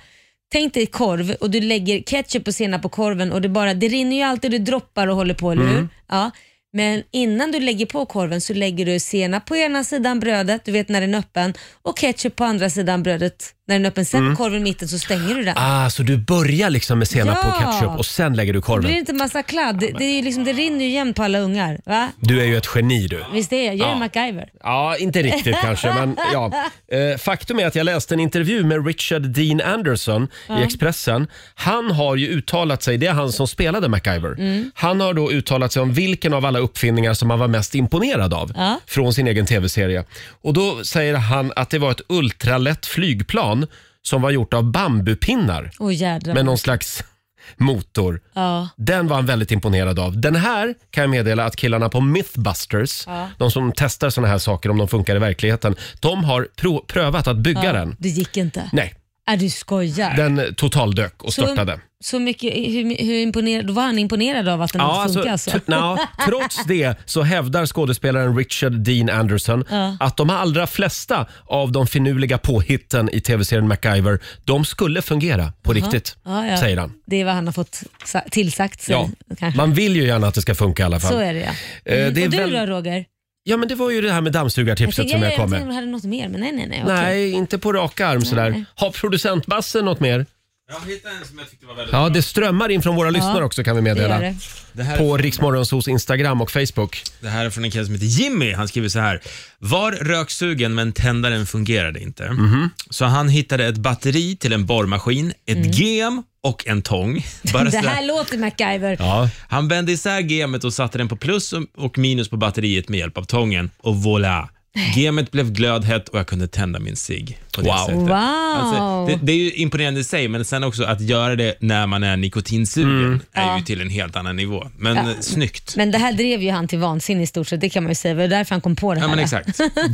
Tänk dig korv och du lägger ketchup och senap på korven och det, bara, det rinner ju alltid och det droppar och håller på, eller
Mm.
hur? Ja. Men innan du lägger på korven så lägger du senap på ena sidan brödet, du vet när den är öppen, och ketchup på andra sidan brödet när den är öppen. Sen
Mm.
korven i mitten så stänger du den.
Ah, så du börjar liksom med senap
Ja.
och ketchup och sen lägger du
det blir
korven.
inte massa kladd. Det- Det, är ju liksom, det rinner ju jämnt på alla ungar. Va?
Du är ju ett geni du.
Visst är jag? Jag är
Ja.
MacGyver.
Ja, inte riktigt kanske. Men, ja. Eh, Faktum är att jag läste en intervju med Richard Dean Anderson
Ja.
i Expressen. Han har ju uttalat sig, det är han som spelade MacGyver.
Mm.
Han har då uttalat sig om vilken av alla uppfinningar som han var mest imponerad av
Ja.
från sin egen tv-serie. Och då säger han att det var ett ultralätt flygplan som var gjort av bambupinnar
Åh jädrar.
med någon slags motor.
Ja.
Den var han väldigt imponerad av. Den här kan jag meddela att killarna på Mythbusters,
Ja.
de som testar såna här saker om de funkar i verkligheten, de har pro- prövat att bygga
Ja,
den.
Det gick inte.
Nej,
Är du skojar?
den totaldök och störtade.
Så, så mycket, hur, hur imponerad, då var han imponerad av att den hade funkat alltså?
t- nja, trots det så hävdar skådespelaren Richard Dean Anderson
Ja.
att de allra flesta av de finurliga påhitten i tv-serien MacGyver, de skulle fungera på
Jaha.
riktigt,
Ja, ja.
säger han.
Det är vad han har fått sa- tillsagt sig.
Ja,
kanske.
man vill ju gärna att det ska funka i alla fall.
Så är det ja.
Eh,
Mm.
det är
och du
väl-
då Roger?
Ja, men det var ju det här med dammsugartipset som jag kom
tänkte
med.
du hade något mer, men nej nej nej. okej.
Nej, inte på rak arm sådär.
Nej.
Har producent Basse något mer?
Jag hittade en som jag tyckte var väldigt
Ja, det strömmar in från våra
Ja,
lyssnare också kan vi
det gör
meddela.
det. Det här är-
På Riksmorgonsos Instagram och Facebook.
Det här är från en kille som heter Jimmy. Han skriver så här. Var röksugen men tändaren fungerade inte.
Mhm.
Så han hittade ett batteri till en borrmaskin, ett gem och en tång. Bara
Mm. det
så
här låter MacGyver.
Ja.
Han vände isär gemet och satte den på plus och- och minus på batteriet med hjälp av tången och voilà! Gemet blev glödhett och jag kunde tända min cigg på det
Wow.
sättet. Alltså,
Wow.
det, det är ju imponerande i sig, men sen också att göra det när man är nikotinsugen är ju till en helt annan nivå. Men
Mm. Ja.
eh, snyggt.
Men det här drev ju han till vansinne i stort sett, det kan man ju säga. Det var därför han kom på det här.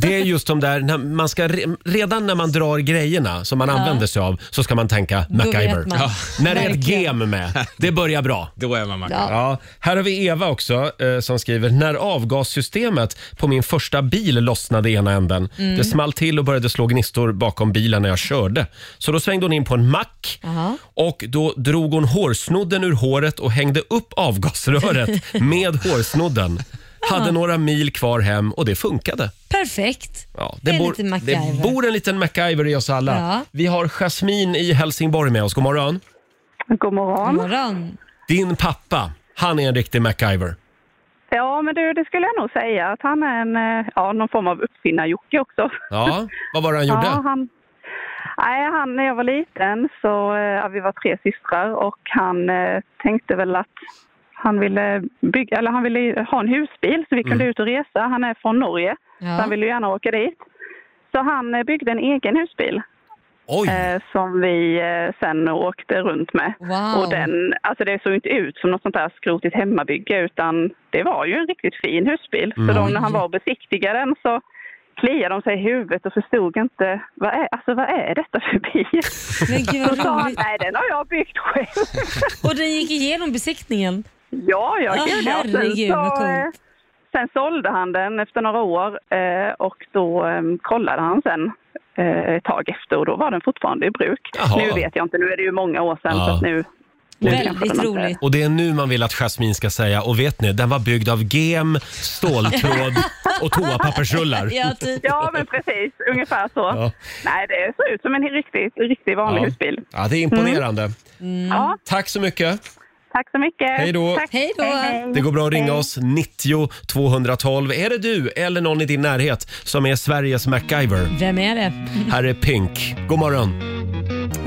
Det är just de där, när man ska, re- redan när man drar grejerna som man
Ja.
använder sig av så ska man tänka
Då vet
MacGyver.
man. Ja.
När det är ett
Verkligen.
gem med, det börjar bra.
Då är man
Ja. Här har vi Eva också eh, som skriver, när avgassystemet på min första bil lossnade i ena änden.
Mm.
Det small till och började slå gnistor bakom bilen när jag körde. Så då svängde hon in på en mack
Jaha.
och då drog hon hårsnodden ur håret och hängde upp avgasröret med hårsnodden. Hade några mil kvar hem och det funkade.
Perfekt.
Ja,
Det är
bor,
lite MacGyver.
det bor en liten MacGyver i oss alla.
Ja.
Vi har Jasmine i Helsingborg med oss. God morgon.
God morgon.
Din pappa, han är en riktig MacGyver.
Ja, men du, det skulle jag nog säga att han är en, eh, ja, någon form av uppfinnar-Jocke också.
Ja, vad var det han gjorde?
Ja, han, nej, han, när jag var liten så, eh, ja, vi var tre systrar och han eh, tänkte väl att han ville, bygga, eller han ville ha en husbil så vi
Mm.
kunde ut och resa. Han är från Norge, så han ville ju gärna åka dit. Så han eh, byggde en egen husbil. Eh, som vi eh, sen åkte runt med.
Wow.
Och den, alltså det såg inte ut som något sånt där skrotigt hemmabygge utan det var ju en riktigt fin husbil.
Mm.
Så de, när han var och besiktigade den så kliade de sig i huvudet och förstod inte vad är, alltså, vad är detta för bil.
Men gud, vad
så sa han,
roligt.
nej den har jag byggt själv.
Och den gick igenom besiktningen?
Ja, ja,
Ah,
gud ja. Sen
herregud, vad
så, eh,
coolt.
Sen sålde han den efter några år eh, och då eh, kollade han sen eh, ett tag efter och då var den fortfarande i bruk.
Jaha.
Nu vet jag inte, nu är det ju många år sedan
Ja.
så att nu... nu kanske den inte-
Och det är nu man vill att Jasmine ska säga, och vet ni, den var byggd av gem, ståltråd och toapappersrullar.
typ.
ja, men precis. Ungefär så.
Ja.
Nej, det ser ut som en riktigt, riktigt vanlig
Ja.
husbil.
Ja, det är imponerande.
Ja,
Tack så mycket.
tack så mycket.
Hej då.
Tack.
Hej då.
Det går bra att ringa
Hej.
oss, 90 212. Är det du eller någon i din närhet som är Sveriges MacGyver?
Vem är det?
Här är Pink. God morgon.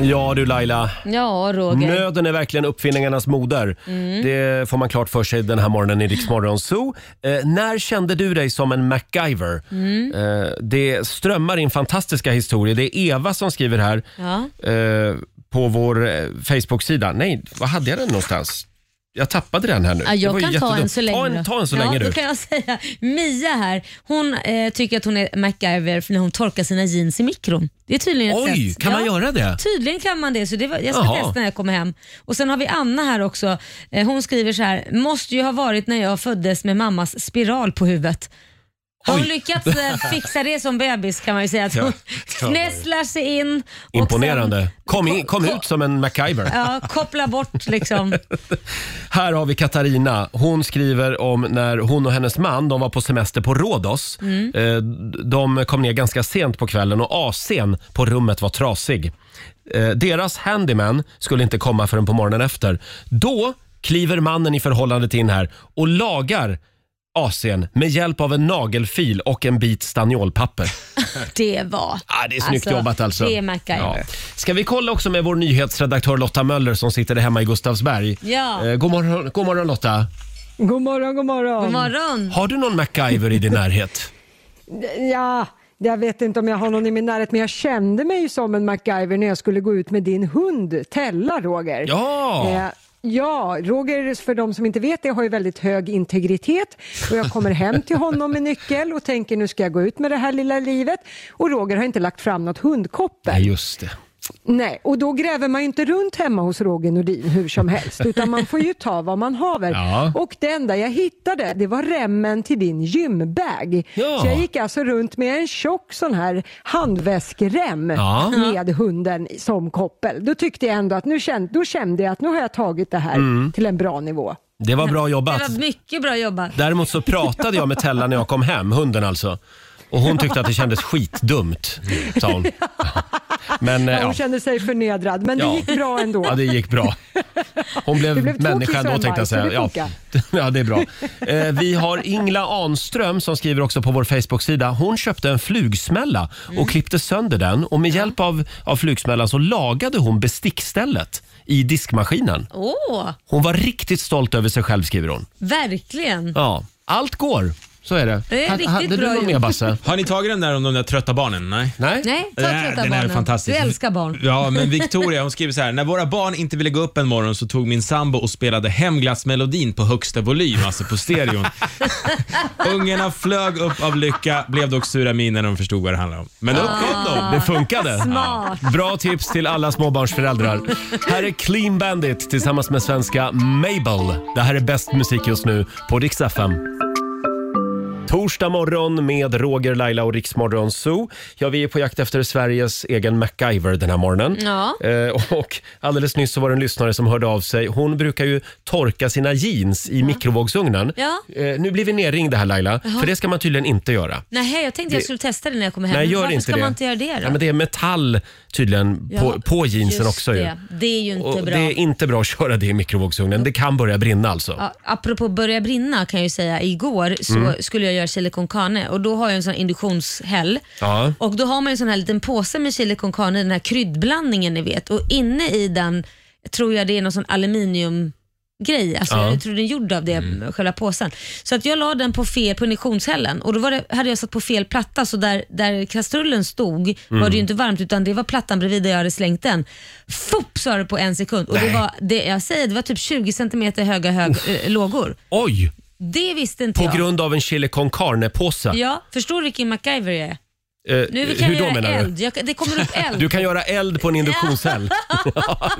Ja du Laila,
Ja, Roger.
Nöden är verkligen uppfinningarnas moder.
Mm.
Det får man klart för sig den här morgonen i Rix Morgon Zoo. Eh, när kände du dig som en MacGyver?
Mm.
Eh, det strömmar in fantastiska historier. Det är Eva som skriver här
Ja.
eh, på vår eh, Facebook-sida. Nej, vad hade jag den någonstans? Jag tappade den här nu.
Ja,
Det var
jag
ju
kan ta en
jättedumt.
så länge.
Ta en,
då.
ta en så
ja,
länge
då
du.
kan jag säga. Mia här, hon eh, tycker att hon är MacGyver för när hon torkar sina jeans i mikron. Det är tydligen ett
Oj,
sätt.
kan man göra det?
Tydligen kan man det, så det var, jag ska
Jaha.
testa när jag kommer hem. Och Sen har vi Anna här också. Eh, hon skriver så här, måste ju ha varit när jag föddes med mammas spiral på huvudet. Har hon
Oj.
lyckats eh, fixa det som bebis kan man ju säga. Att
Ja,
hon
ja.
knässlar sig in och
Imponerande. Kom, in, kom ut som en MacGyver.
sen, ja, kopplar bort liksom.
Här har vi Katarina. Hon skriver om när hon och hennes man de var på semester på Rhodos.
Mm.
Eh, De kom ner ganska sent på kvällen och AC'n på rummet var trasig. Eh, Deras handyman skulle inte komma förrän på morgonen efter. Då kliver mannen i förhållandet in här och lagar AC'n med hjälp av en nagelfil och en bit stanniolpapper.
Det var...
Ah, det är snyggt jobbat alltså.
Det är MacGyver.
Ska vi kolla också med vår nyhetsredaktör Lotta Möller som sitter hemma i Gustavsberg.
Ja.
Eh, God, morgon, god morgon Lotta.
God morgon, god morgon.
God morgon.
Har du någon MacGyver i din närhet?
Ja, jag vet inte om jag har någon i min närhet, men jag kände mig ju som en MacGyver när jag skulle gå ut med din hund Tella, Roger.
Ja.
Eh, Ja, Roger, för de som inte vet det, har ju väldigt hög integritet och jag kommer hem till honom med nyckel och tänker nu ska jag gå ut med det här lilla livet och Roger har inte lagt fram något hundkoppel.
Nej, just det.
Nej, och då gräver man ju inte runt hemma hos Roger Nordin hur som helst, utan man får ju ta vad man haver.
Ja.
Och det enda jag hittade, det var remmen till din gymbag.
Ja.
Så jag gick alltså runt med en tjock sån här handväskrem
Ja.
med hunden som koppel. Då tyckte jag ändå att nu kände, då kände jag att nu har jag tagit det här
Mm.
till en bra nivå.
Det var bra jobbat.
Det var mycket bra jobbat.
Däremot så pratade jag med Tella när jag kom hem, hunden alltså. Och hon tyckte att det kändes skitdumt, sa hon. Men eh,
Ja.
ja,
Hon kände sig förnedrad, men
Ja.
det gick bra ändå.
ja det gick bra. Hon blev,
Det blev två
människa
kiss och
ändå
en
tänkte jag
bajs, så
säga.
det
Ja.
funkar.
ja, det är bra. Eh, vi har Ingla Anström som skriver också på vår Facebook-sida. Hon köpte en flugsmälla och klippte sönder den och med hjälp av, av flugsmällan så lagade hon bestickstället i diskmaskinen.
Åh,
Hon var riktigt stolt över sig själv skriver hon.
verkligen.
Ja, allt går. Så är det.
Det är riktigt bra gjort.
Har ni tagit den där om de där trötta barnen? Nej.
Nej,
Nej, ta
Nej,
trötta
den är
barnen.
fantastisk.
Du älskar barn.
Ja, men Victoria hon skriver så här. När våra barn inte ville gå upp en morgon så tog min sambo och spelade hemglassmelodin på högsta volym, alltså på stereon. Ungarna flög upp av lycka, blev dock sura miner när de förstod vad det handlade om. Men upp kom de.
Det funkade.
Smart.
Ja. Bra tips till alla småbarnsföräldrar. Här är Clean Bandit tillsammans med svenska Mabel. Det här är bäst musik just nu på Rix FM. Torsdag morgon med Roger, Laila och Riksmorgon Zoo. Ja, vi är på jakt efter Sveriges egen MacGyver den här morgonen.
Ja.
Eh, och alldeles nyss så var det en lyssnare som hörde av sig. Hon brukar ju torka sina jeans i mikrovågsugnen.
Ja.
Eh, nu blir vi nerringda här Laila,
Jaha.
för det ska man tydligen inte göra.
Nej, jag
Det-
tänkte jag skulle testa det när jag kommer hem.
Nej,
Men
gör
Varför
inte
ska
det.
man inte göra det då?
Ja, men det är metall tydligen på,
Ja,
på jeansen
just
också. Ju.
Det. det är ju inte
Och
bra.
det är inte bra att köra det i mikrovågsugnen. Det kan börja brinna alltså.
Ja, apropå börja brinna kan jag ju säga, igår så
Mm.
skulle jag göra chili con carne och då har jag en sån induktionshäll.
Ja.
Och då har man ju en sån här liten påse med chili con carne, den här kryddblandningen ni vet. Och inne i den tror jag det är någon sån aluminiumgrej. Alltså
Ja.
jag tror den är gjord av det,
Mm.
själva påsen. Så att jag la den på fel, på induktionshällen och då var det, hade jag satt på fel platta så där, där kastrullen stod var
Mm.
det ju inte varmt utan det var plattan bredvid där jag hade slängt den. Fopp sa det på en sekund och det
Nej.
var, det, jag säger, det var typ 20 centimeter höga hög, eh, lågor.
Oj!
Det visste inte
På
jag.
grund av en chili con carne-påse.
Ja, förstår du vilken MacGyver jag är?
Eh,
Nu kan
hur
jag
då
göra
menar
eld.
du?
Jag, kan- det kommer upp eld.
Du kan göra eld på en induktionshäll.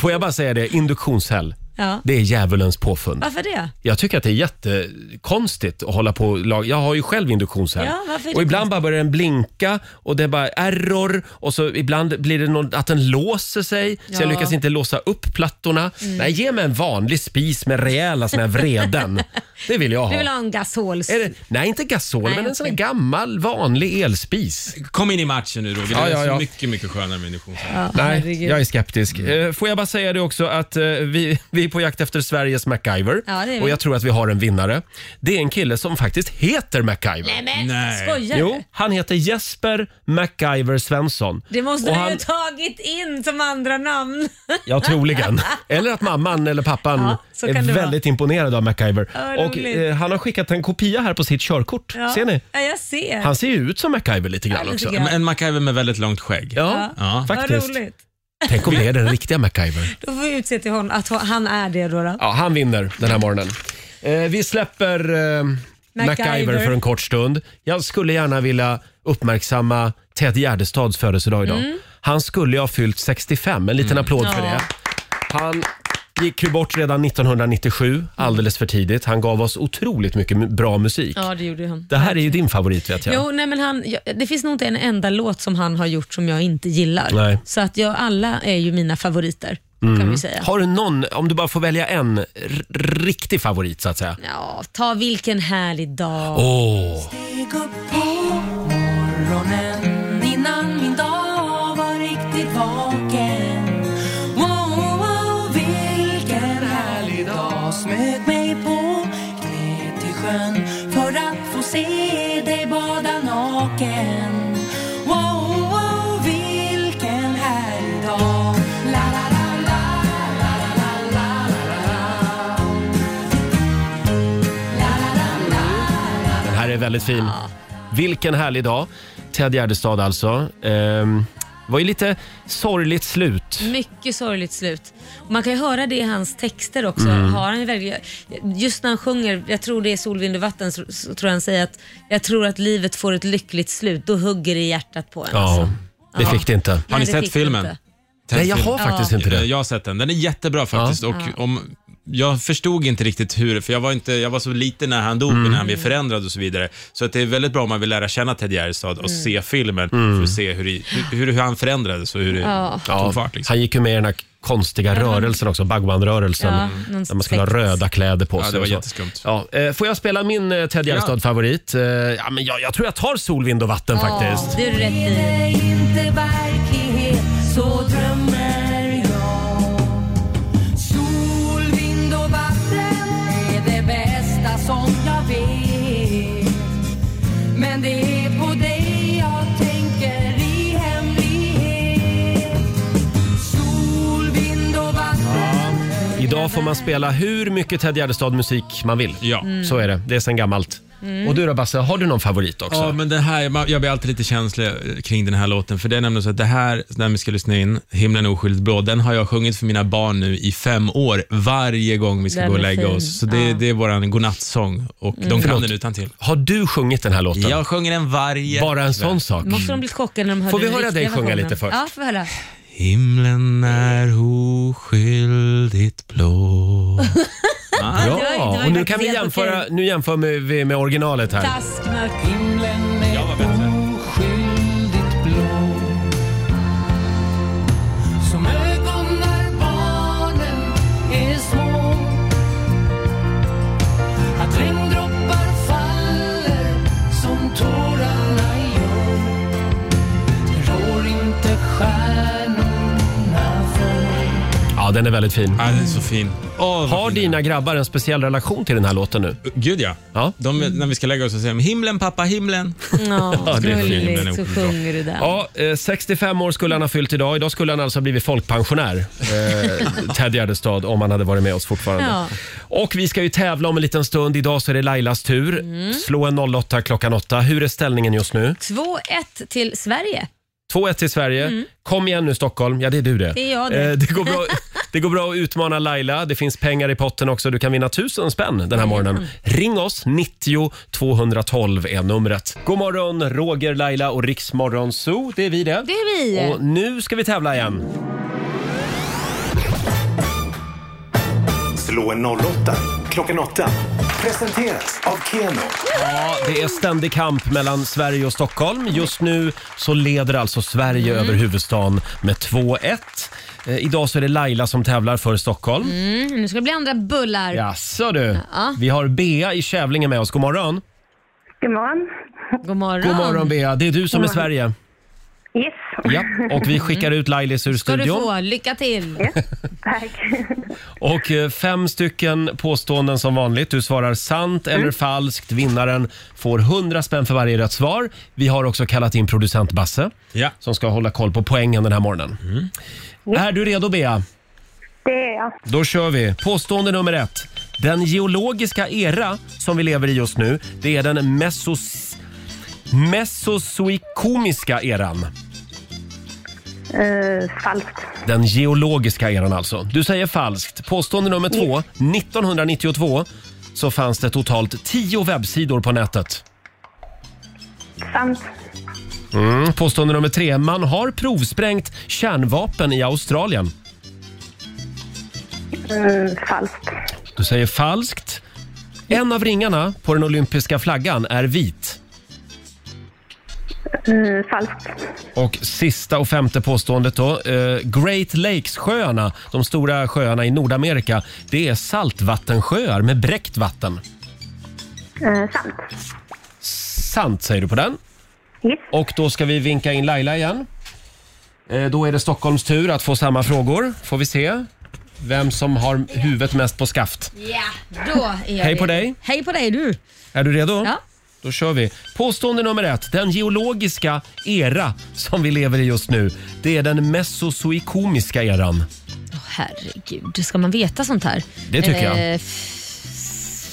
Får jag bara säga det, induktionshäll.
Ja.
Det är djävulens påfund.
Varför det?
Jag tycker att det är jättekonstigt att hålla på och lag. Jag har ju själv induktionshäll.
Ja, varför är
och
det
ibland bara börjar den blinka och det är bara error och så ibland blir det någon, att den låser sig så
Ja.
jag lyckas inte låsa upp plattorna.
Mm.
Nej, ge mig en vanlig spis med rejäla såna här vreden. det vill jag ha.
Du vill ha en gasol?
Är det, nej, inte gasol,
Nej,
men en sån här
okej.
gammal vanlig elspis.
Kom in i matchen nu Roger. Det
Ja,
är
ja, ja.
så mycket, mycket skönare med induktion.
Nej, jag är skeptisk. Eh, Får jag bara säga det också att eh, vi, vi är på jakt efter Sveriges MacGyver.
Ja, det är vi.
och jag tror att vi har en vinnare. Det är en kille som faktiskt heter MacGyver.
Nej, men, Nej. skojar du?
Jo, han heter Jesper MacGyver Svensson.
Det måste
Och
du
han-
ju tagit in som andra namn.
Ja, troligen. Eller att mamman eller pappan
Ja, så kan
är
det vara.
väldigt imponerad av MacGyver.
Ja,
och
roligt.
eh, han har skickat en kopia här på sitt körkort.
Ja.
Ser ni?
Ja, jag ser.
Han ser ju ut som MacGyver lite grann
Ja, lite
också.
grann.
En MacGyver med väldigt långt skägg.
Ja, faktiskt.
Vad roligt.
Tänk om det är den riktiga MacGyver.
Då får vi utse till honom att han är det då. då.
Ja, han vinner den här morgonen. Eh, vi släpper eh, MacGyver.
MacGyver
för en kort stund. Jag skulle gärna vilja uppmärksamma Ted Gärdestads födelsedag idag.
Mm.
Han skulle ju ha fyllt 65. En liten applåd för
Ja.
det. Han gick ju bort redan 1997, alldeles för tidigt. Han gav oss otroligt mycket mu- bra musik.
Ja, det gjorde han.
Det här är ju din favorit vet jag.
Jo, nej, men han, jag- det finns nog inte en enda låt som han har gjort som jag inte gillar.
Nej.
Så att jag, alla är ju mina favoriter, kan
Mm.
vi säga.
Har du någon, om du bara får välja en, r- riktig favorit så att säga?
Ja, ta vilken härlig dag.
Åh.
Steg upp på morgonen innan min dag var riktigt vaken. Wow, wow, vilken härlig dag. Smög mig på knä till sjön för att få se dig bada naken. Wow, wow, vilken härlig dag. La, la, la, la, la, la, la, la, la.
Den här är väldigt fin. Vilken härlig dag. Ted Gärdestad alltså. Ehm, Det var ju lite sorgligt slut.
Mycket sorgligt slut. Och man kan ju höra det i hans texter också.
Mm.
Har han ju väldigt, just när han sjunger, jag tror det är Sol, vind och vatten, så, så tror jag han säger att jag tror att livet får ett lyckligt slut. Då hugger det i hjärtat på en.
Ja,
det Alltså. Ja. fick det inte.
Har ni
Nej, det
sett
fick det
filmen?
inte.
Sett
Nej, jag
filmen?
har faktiskt inte det.
Eh, Jag har sett den. Den är jättebra faktiskt.
Ja.
Och
Ja.
om, jag förstod inte riktigt hur, för jag var, inte, jag var så liten när han dog,
Mm.
när han blev förändrad och så vidare. Så att det är väldigt bra om man vill lära känna Ted Gärdestad och
Mm.
se filmen för att se hur, det- hur, hur han förändrades och hur det
Ja.
tog fart. Liksom.
Han gick ju med i den här konstiga
Ja, han-
rörelsen också, Bhagwan-rörelsen.
Ja, någon
där man skulle ha
sekt.
röda kläder på
Ja,
sig.
det var
och så.
jätteskumt.
Ja, eh, får jag spela min eh, Ted Gärdestad-favorit? Eh, ja, men jag, jag tror jag tar Sol, vind och vatten faktiskt.
Det är du rätt i.
inte verklighet, så drömmer jag. Sol, vind och vatten är det bästa som jag vet. Men det är på dig jag tänker i hemlighet. Sol, vind och vatten.
Idag får man spela hur mycket Ted Gärdestad-musik man vill. Ja.
Mm.
Så är det. Det är sen gammalt.
Mm.
Och du då Basse, har du någon favorit också?
Ja, men det här, man- jag blir alltid lite känslig eh, kring den här låten, för det är nämligen så att det här, när vi ska lyssna in, Himlen är oskyldigt blå, den har jag sjungit för mina barn nu i fem år, varje gång vi ska
Den
gå och
är
lägga
fin.
oss. Så det,
Ja.
det är vår godnattsång och
Mm.
de kan
Förlåt.
den utan till.
Har du sjungit den här låten?
Jag sjunger den varje
Bara en sån
kväll.
sak? Mm.
Måste de bli chockade när de hör
Får vi
den
höra
riktiga
dig sjunga
versionen?
lite först?
Ja, får vi höra.
Himlen är oskyldigt blå.
Det var- det var
Ja, och nu
faktiskt
kan vi
helt
jämföra, nu jämför med- vi med originalet här.
Taskmörk.
Himlen är oskyldigt blå Som ögon när barnen är små Att regndroppar faller som tårarna gör Det rår inte stjärnorna för
Ja, den är väldigt fin.
Ja, den är så fin.
Har dina grabbar en speciell relation till den här låten nu?
Gud ja.
ja.
De, när vi ska lägga oss så säger de himlen pappa, himlen.
Ja, det är fint.
Himlen är
gulligt så
oskyldigt blå.
sjunger du den.
Ja, eh, 65 år skulle han ha fyllt idag. Idag skulle han alltså ha blivit folkpensionär, eh, Ted Gärdestad, om han hade varit med oss fortfarande.
Ja.
Och vi ska ju tävla om en liten stund. Idag så är det Lailas tur.
Mm.
Slå en 08 klockan 8. Hur är ställningen just nu?
2-1 till Sverige.
2-1 till Sverige. Kom igen nu Stockholm. Ja, det är du det.
Mm. Det är jag det.
Eh, det, går bra, det går bra att utmana Laila. Det finns pengar i potten också. Du kan vinna tusen spänn den här morgonen. Ring oss. 90 212 är numret. God morgon, Roger, Laila och Riksmorgon Zoo. Det är vi det.
Det är vi.
Och nu ska vi tävla igen.
Slå en 08 klockan 8. Presenteras av Keno.
Ja, det är ständig kamp mellan Sverige och Stockholm. Just nu så leder alltså Sverige
Mm.
över huvudstaden med 2-1. Eh, idag så är det Laila som tävlar för Stockholm.
Mm, nu ska det bli andra bullar.
Jaså du.
Ja.
Vi har Bea i Kävlinge med oss. God morgon.
God morgon.
God morgon.
God morgon Bea. Det är du som är
God morgon.
Sverige.
Yes.
Ja, och vi skickar ut Lailis ur
Ska du
studion.
få. Lycka till.
Och eh, fem stycken påståenden som vanligt. Du svarar sant
Mm.
eller falskt. Vinnaren får 100 spänn för varje rätt svar. Vi har också kallat in producent Basse som ska hålla koll på poängen den här morgonen. Är du redo Bea?
Det är jag.
Då kör vi. Påstående nummer ett. Den geologiska era som vi lever i just nu, det är den mesos... mesozoikomiska eran.
Eh, falskt.
Den geologiska eran alltså. Du säger falskt. Påstående nummer två. 1992 så fanns det totalt tio webbsidor på nätet.
Sant.
Mm. Påstående nummer tre. Man har provsprängt kärnvapen i Australien.
Eh, falskt.
Du säger falskt. En av ringarna på den olympiska flaggan är vit.
Eh, falskt.
Och sista och femte påståendet då. Eh, Great Lakes-sjöarna, de stora sjöarna i Nordamerika, det är saltvattensjöar med bräckt vatten.
Eh, sant.
Sant säger du på den. Och då ska vi vinka in Laila igen. Eh, Då är det Stockholms tur att få samma frågor. Får vi se vem som har huvudet mest på skaft.
Ja, då är jag
Hej på
redo.
dig.
Hej på dig du.
Är du redo?
Ja.
Då kör vi. Påstående nummer ett. Den geologiska era som vi lever i just nu, det är den mesozoikomiska eran.
Åh, herregud, ska man veta sånt här?
Det tycker jag.
f- Eh,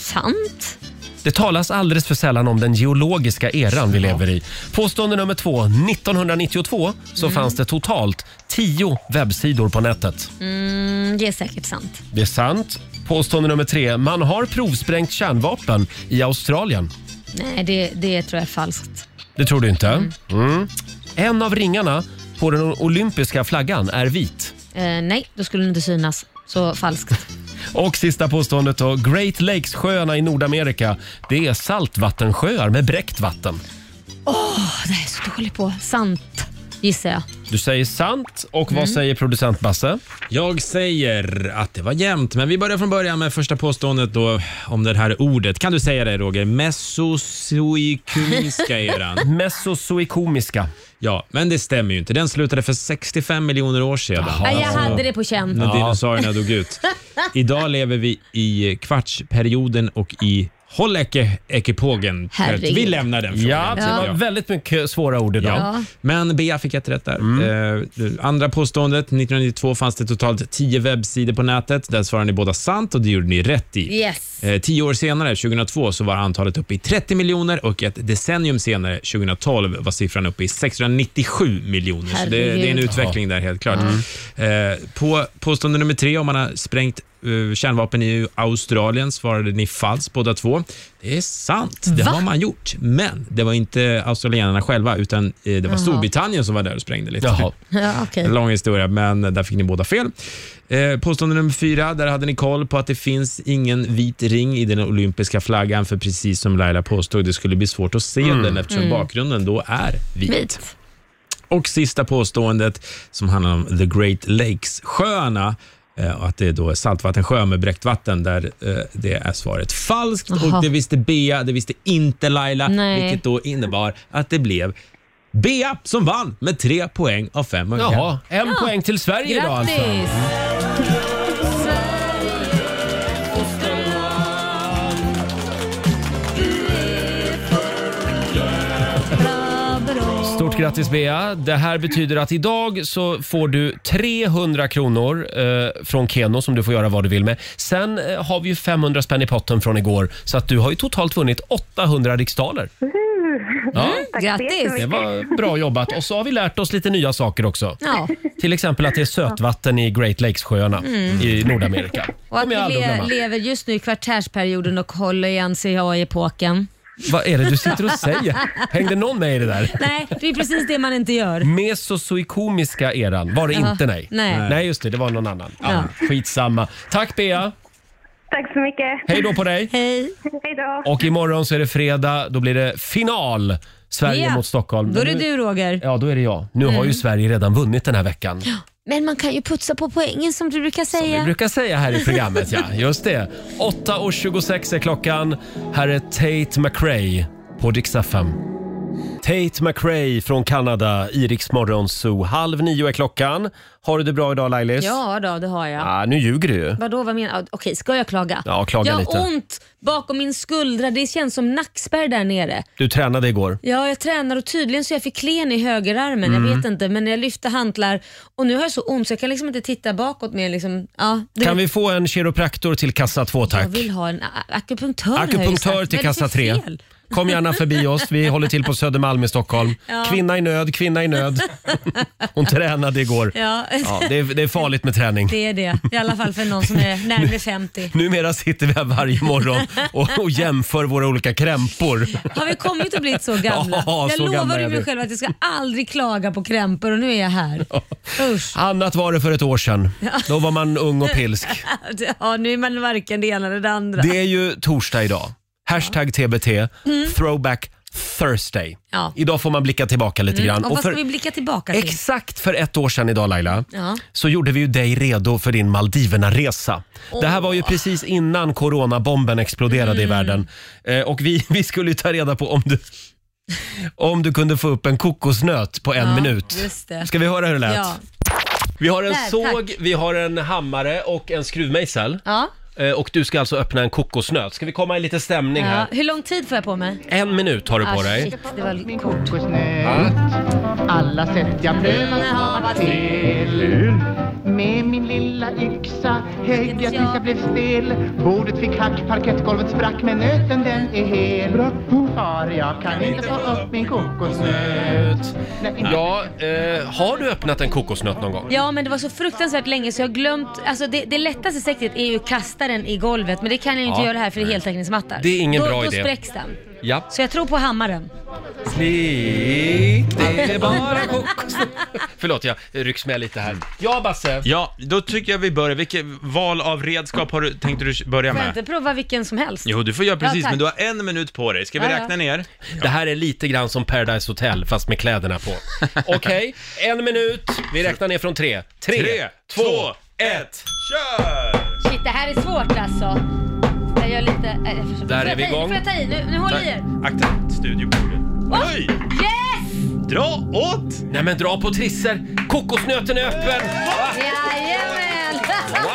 sant?
Det talas alldeles för sällan om den geologiska eran vi lever i. Påstående nummer två. 1992 så
Mm.
fanns det totalt 10 webbsidor på nätet.
Mm, det är säkert sant.
Det är sant. Påstående nummer tre. Man har provsprängt kärnvapen i Australien.
Nej, det, det tror jag är falskt.
Det tror du inte? Mm. En av ringarna på den olympiska flaggan är vit.
Eh, nej, då skulle det inte synas. Så falskt.
Och sista påståendet då. Great Lakes-sjöarna i Nordamerika, det är saltvattensjöar med bräckt vatten.
Åh, det här är jag så dålig på. Sant, gissar jag.
Du säger sant. Och vad
Mm.
säger producent Basse?
Jag säger att det var jämnt, men vi börjar från början med första påståendet då om det här ordet. Kan du säga det Roger? Mesozoikumiska eran.
Mesozoikumiska.
Ja, men det stämmer ju inte. Den slutade för 65 miljoner år sedan.
Nej, jag hade det på känn.
När dinosaurierna dog ut. Idag lever vi i kvartsperioden och i Holleke-ekipogen.
Herregud.
Vi lämnar den frågan.
Ja, det
tycker
var
jag.
väldigt mycket svåra ord idag.
Ja. Men Bea fick ett rätt där.
Mm.
Eh, det andra påståendet. 1992 fanns det totalt 10 webbsidor på nätet. Där svarade ni båda sant och det gjorde ni rätt i.
Yes.
Eh, Tio år senare, 2002, så var antalet uppe i 30 miljoner och ett decennium senare, 2012, var siffran uppe i 697 miljoner. Så det, det är en
Herregud. Mm.
utveckling där helt klart. Eh, På påstående nummer tre, om man har sprängt eh, kärnvapen i Australien, svarade ni falskt båda två. Det är sant, det
Va?
har man gjort. Men det var inte australienarna själva, utan eh, det var
Jaha.
Storbritannien som var där och sprängde lite.
Ja, okej.
En lång historia, men där fick ni båda fel. Eh, påstående nummer fyra, där hade ni koll på att det finns ingen vit ring i den olympiska flaggan, för precis som Laila påstod, det skulle bli svårt att se
Mm.
den eftersom
Mm.
bakgrunden då är vit. Och sista påståendet som handlar om The Great Lakes-sjöarna, eh, och att det är då saltvattensjö med bräckt vatten, där eh, det är svaret falskt.
Jaha.
Och det visste Bea, det visste inte Laila,
Nej.
vilket då innebar att det blev Bea som vann med tre poäng av fem möjliga.
Jaha, en poäng till Sverige idag alltså.
Grattis!
Stort grattis Bea. Det här betyder att idag så får du 300 kronor eh, från Keno som du får göra vad du vill med. Sen eh, har vi ju 500 spänn i potten från igår så att du har ju totalt vunnit 800 riksdaler. Ja.
Grattis!
Det var bra jobbat. Och så har vi lärt oss lite nya saker också.
Ja.
Till exempel att det är sötvatten i Great Lakes-sjöarna
Mm.
i Nordamerika.
Och att
Kommer jag
vi
aldrig att
le-
glömma.
lever just nu i kvartärsperioden och håller i NCA-epoken.
Vad är det du sitter och säger? Hängde någon med i det där?
Nej, det är precis det man inte gör.
Mesozoikumiska eran var det
Ja.
inte, nej.
Nej.
Nej, just det. Det var någon annan.
Ja.
Ja. Skitsamma. Tack Bea!
Tack så mycket.
Hej då på dig.
Hej.
Hej då.
Och imorgon så är det fredag. Då blir det final. Sverige
Ja.
mot Stockholm.
Då är det
Men nu-
du Roger.
Ja, då är det jag. Nu har
Mm.
ju Sverige redan vunnit den här veckan.
Men man kan ju putsa på poängen som du brukar
Vi
säga.
brukar säga här i programmet, ja. Just det. 8.26 är klockan. Här är Tate McRae på Dix FM. Tate McRae från Kanada, i Rix Morgon Zoo. Halv nio är klockan. Har du det bra idag Lailis?
Ja då, det har jag.
Ah, nu ljuger du ju.
Vadå, vad menar du? Okej, ska jag klaga?
Ja, klaga
jag har
lite.
ont bakom min skuldra. Det känns som nackspärr där nere.
Du tränade igår.
Ja, jag tränar och tydligen så är jag för klen i högerarmen. Jag
Mm.
vet inte, men jag lyfter hantlar och nu har jag så ont så jag kan liksom inte titta bakåt mer. Liksom, ja, det-
Kan vi få en kiropraktor till kassa två tack?
Jag vill ha en a- akupunktör. har jag ju
Akupunktör
sagt.
till
Vad är det
kassa
för
tre.
fel?
Kom gärna förbi oss. Vi håller till på Södermalm i Stockholm.
Ja.
Kvinna i nöd, kvinna i nöd. Hon tränade igår.
Ja.
det, är, det är farligt med träning.
Det är det, i alla fall för någon som är närmare 50.
Numera sitter vi här varje morgon och, och jämför våra olika krämpor.
Har vi kommit att bli så gamla?
Ja,
jag
så
lovade
gamla är
ju mig
vi.
själv att jag ska aldrig klaga på krämpor och nu är jag här.
Annat var det för ett år sedan.
Ja.
Då var man ung och pilsk.
Ja, nu är man varken det ena eller det andra.
Det är ju torsdag idag. Hashtag TBT,
Mm.
throwback Thursday.
Ja.
Idag får man blicka tillbaka lite
Mm,
grann.
Och vad
för,
ska vi blicka tillbaka till?
Exakt för ett år sedan idag Laila,
Ja.
så gjorde vi ju dig redo för din Maldiverna-resa. Det här var ju
Åh. Mm.
precis innan coronabomben exploderade i världen. Eh, och vi, vi skulle ju ta reda på om du, om du kunde få upp en kokosnöt på en
Ja,
minut.
just det.
Ska vi höra hur det lät?
Ja.
Vi har en
Där,
såg, vi har en hammare och en skruvmejsel.
ja.
Eh, Och du ska alltså öppna en kokosnöt. Ska vi komma i lite stämning
Ja,
här?
hur lång tid får jag på mig?
En minut har du på
Ah,
dig.
Shit, det var kort.
Alla sätt jag
Nu man hava
till Med min lilla yxa högg jag tills jag blev stel Bordet fick hack, parkettgolvet sprack men nöten den är hel Far, jag kan inte få upp min kokosnöt
Ja, eh, har du öppnat en kokosnöt någon gång?
Ja, men det var så fruktansvärt länge så jag har glömt. Alltså det, det lättaste sättet är ju att kasta den i golvet, men det kan jag ju inte
Ja.
göra här för det är heltäckningsmattar.
Det är ingen
då,
bra
då
idé.
Då spräcks den.
Ja.
Så jag tror på hammaren.
Slit, det är bara kokosnöt. Förlåt, jag rycks med lite här. Ja, Basse.
Ja, då tycker jag vi börjar. Vilket val av redskap har du, tänkte du börja
Får jag
med?
inte prova vilken som helst?
Jo, du får göra
Ja,
precis,
tack.
men du har en minut på dig. Ska vi
Ja, ja.
räkna ner?
Det här är lite grann som Paradise Hotel, fast med kläderna på. Okej, en minut. Vi räknar ner från tre. Tre,
Tre,
två,
två,
ett.
Shit, det här är svårt alltså. Jag gör lite... eh, jag försöker-
Där
får
är
jag
vi
ta i?
igång.
Får jag ta i? Nu, nu håller jag i er.
Akta studiobordet. Oj!
Yes!
Dra åt!
Nej men dra på trisser! Kokosnöten är öppen!
Jajamän!
Wow!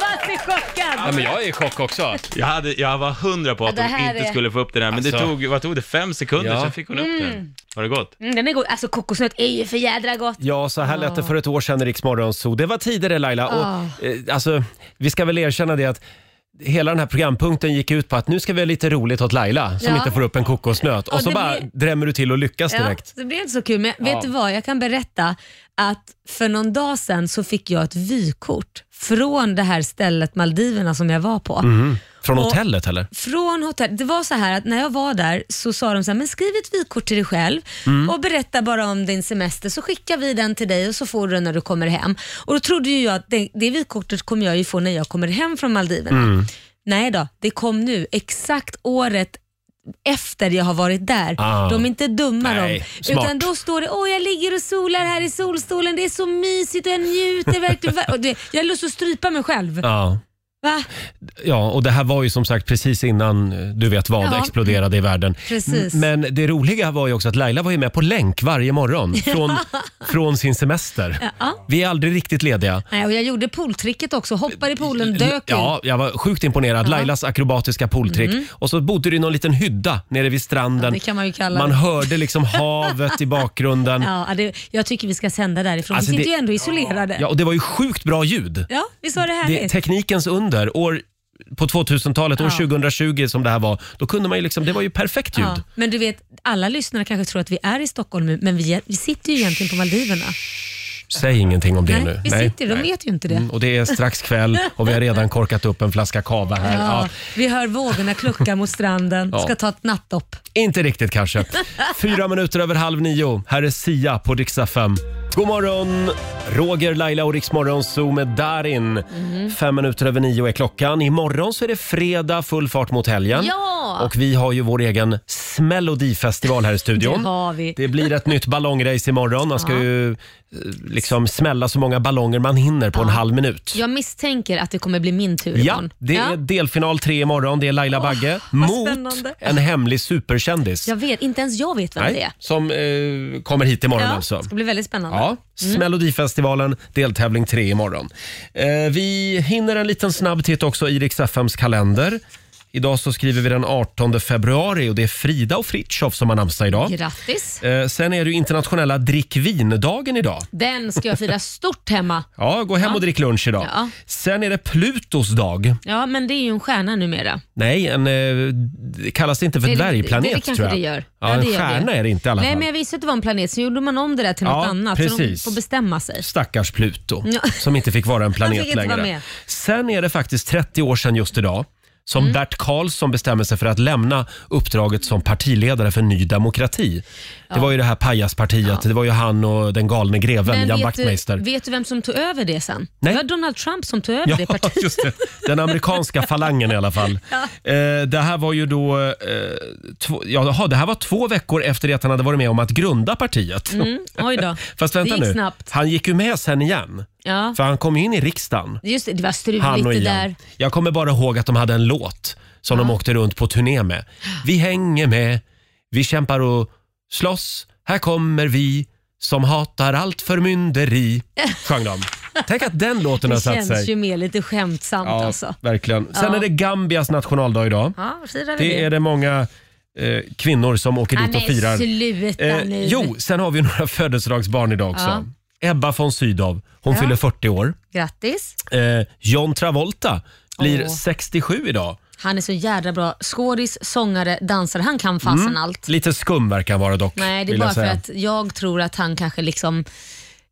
Vad är chockad!
Ja, men jag är i chock också.
Jag, hade, jag var hundra på att
Ja, det
hon
här
inte
är-
skulle få upp det där, men det
Alltså.
tog, vad tog det, fem sekunder,
Ja.
sen fick hon upp den.
Mm.
Var det gott?
Mm, den är god. Alltså kokosnöt är ju för jädra gott.
Ja, så här lät det för ett år sedan i Rix Morgon Zoo. Det var tidigare Laila. Och,
Ah.
eh, alltså, vi ska väl erkänna det att Hela den här programpunkten gick ut på att nu ska vi ha lite roligt åt Laila som
Ja.
inte får upp en kokosnöt. Och
Ja,
så
det
bara
blir-
drämmer du till och lyckas direkt.
Ja, det blir inte så kul, men
Ja.
vet du vad? Jag kan berätta att för någon dag sedan så fick jag ett vykort från det här stället Maldiverna som jag var på.
Mhm. Från
Och-
hotellet eller?
Från hotell. Det var så här att när jag var där så sa de så här, men skriv ett vykort till dig själv
Mm.
och berätta bara om din semester så skickar vi den till dig och så får du den när du kommer hem. Och då trodde ju jag att det, det vykortet kommer jag ju få när jag kommer hem från Maldiverna.
Mm.
Nej då, det kom nu exakt året efter jag har varit där.
Ah.
De är inte dumma
Nej,
de.
smart.
Utan då står det, åh jag ligger och solar här i solstolen, det är så mysigt och jag njuter verkligen. Och du vet, Jag har lust att strypa mig själv.
Ja.
Va?
ja, och det här var ju som sagt precis innan eh, du vet vad
Ja.
exploderade i världen.
Precis.
M- Men det roliga var ju också att Laila var ju med på länk varje morgon från, från sin semester.
Ja.
Vi är aldrig riktigt lediga.
Nej, och jag gjorde pooltricket också, hoppade i poolen, dök
Ja, jag var sjukt imponerad.
Ja.
Lailas akrobatiska pooltrick.
Mm.
Och så bodde du i någon liten hydda nere vid
Ja,
stranden.
det kan man ju kalla
man
det.
hörde liksom havet i bakgrunden. Ja.
Ja, det, jag tycker vi ska sända därifrån.
Alltså,
vi sitter
det-
ju ändå isolerade.
och det var ju sjukt bra ljud.
Ja, visst var det härligt?
Det, teknikens under. År, på 2000-talet, år
Ja.
2020 som det här var, då kunde man ju liksom, det var ju perfekt ljud.
Ja, men du vet, alla lyssnare kanske tror att vi är i Stockholm nu, men vi, är, vi sitter ju egentligen på Maldiverna.
Säg ingenting om det
Nej,
nu. Mm,
vi sitter ju, de vet ju inte det.
och det är strax kväll och vi har redan korkat upp en flaska cava
Ja,
här. Ja.
Vi hör vågorna klucka mot stranden,
Ja.
ska ta ett nattdopp.
Inte riktigt kanske. Fyra minuter över halv nio. Här är Sia på Riksa 5. God morgon! Roger, Laila och Riksmorgon Zoo med Darin.
Mhm.
Fem minuter över nio är klockan. Imorgon så är det fredag, full fart mot helgen.
Ja!
Och vi har ju vår egen smällodifestival här i studion.
Det har vi.
Det blir ett nytt ballongrace imorgon. Man ska
Ja.
ju eh, liksom smälla så många ballonger man hinner på en halv minut.
Jag misstänker att det kommer bli min tur
Ja,
imorgon.
det är delfinal tre imorgon. Det är Laila Bagge mot
spännande.
en hemlig superkändis.
Jag vet, inte ens jag vet vem det är.
som eh, kommer hit imorgon
ja,
alltså.
Det ska bli väldigt spännande. Mm.
Ja, Melodifestivalen, deltävling 3 imorgon. Eh, vi hinner en liten snabb titt också i Rix FMs kalender. Idag så skriver vi den 18 februari och det är Frida och Fritiof som har namnsdag idag.
Grattis!
Eh, sen är det ju internationella drick vin-dagen idag.
Den ska jag fira stort hemma.
Ja, gå hem
Ja.
och drick lunch idag.
Ja.
Sen är det Plutos dag.
Ja, men det är ju en stjärna numera.
Nej, en, eh, det kallas inte för
Det- det-
dvärgplanet
det- det kanske
tror jag.
det gör.
Ja,
Ja,
en
det gör det.
stjärna är det inte i alla
Nej,
fall.
men jag visste att det var en planet, så gjorde man om det där till något
Ja,
annat. Så de
precis.
får bestämma sig.
Stackars Pluto
Ja.
som inte fick vara en
Han
planet
fick inte vara
längre.
med.
Sen är det faktiskt 30 år sedan just idag som
Mm.
Bert Karlsson bestämmer sig för att lämna uppdraget som partiledare för Ny Demokrati. Det
Ja.
var ju det här pajaspartiet, det var ju han och den galne greven, Jan
vet, du,
Wachtmeister.
vet du vem som tog över det sen?
Nej.
Det var Donald Trump som tog över det
Ja,
partiet.
just det. Den amerikanska falangen i alla fall. Eh, det här var ju då... Eh, två, ja, jaha, det här var två veckor efter det att han hade varit med om att grunda partiet.
Mm, oj då.
Fast vänta
det gick
nu,
snabbt.
han gick ju med sen igen.
Ja.
För han kom ju in i riksdagen.
Just det, det var
Han och
struligt det
Ian.
där.
Jag kommer bara ihåg att de hade en låt som de åkte runt på turné med. Vi hänger med, vi kämpar och slåss. Här kommer vi som hatar allt förmynderi, sjöng de. Tänk att den låten har
Det
satt
känns ju
sig.
mer lite skämtsamt
Ja,
alltså.
verkligen. Sen
Ja.
är det Gambias nationaldag idag.
Ja, firar vi
Det är det många eh, kvinnor som åker
Nej,
dit och
men
firar. Eh,
sluta nu.
jo, sen har vi några födelsedagsbarn idag också. Ebba von Sydow, hon
Ja.
fyller 40 år.
Grattis.
Eh, John Travolta blir
Åh.
67 idag.
Han är så jädra bra skådis, sångare, dansare. Han kan fasen
Mm.
allt.
Lite skum verkar han vara dock.
Nej, det är
vill
bara
jag
för
säga.
att jag tror att han kanske liksom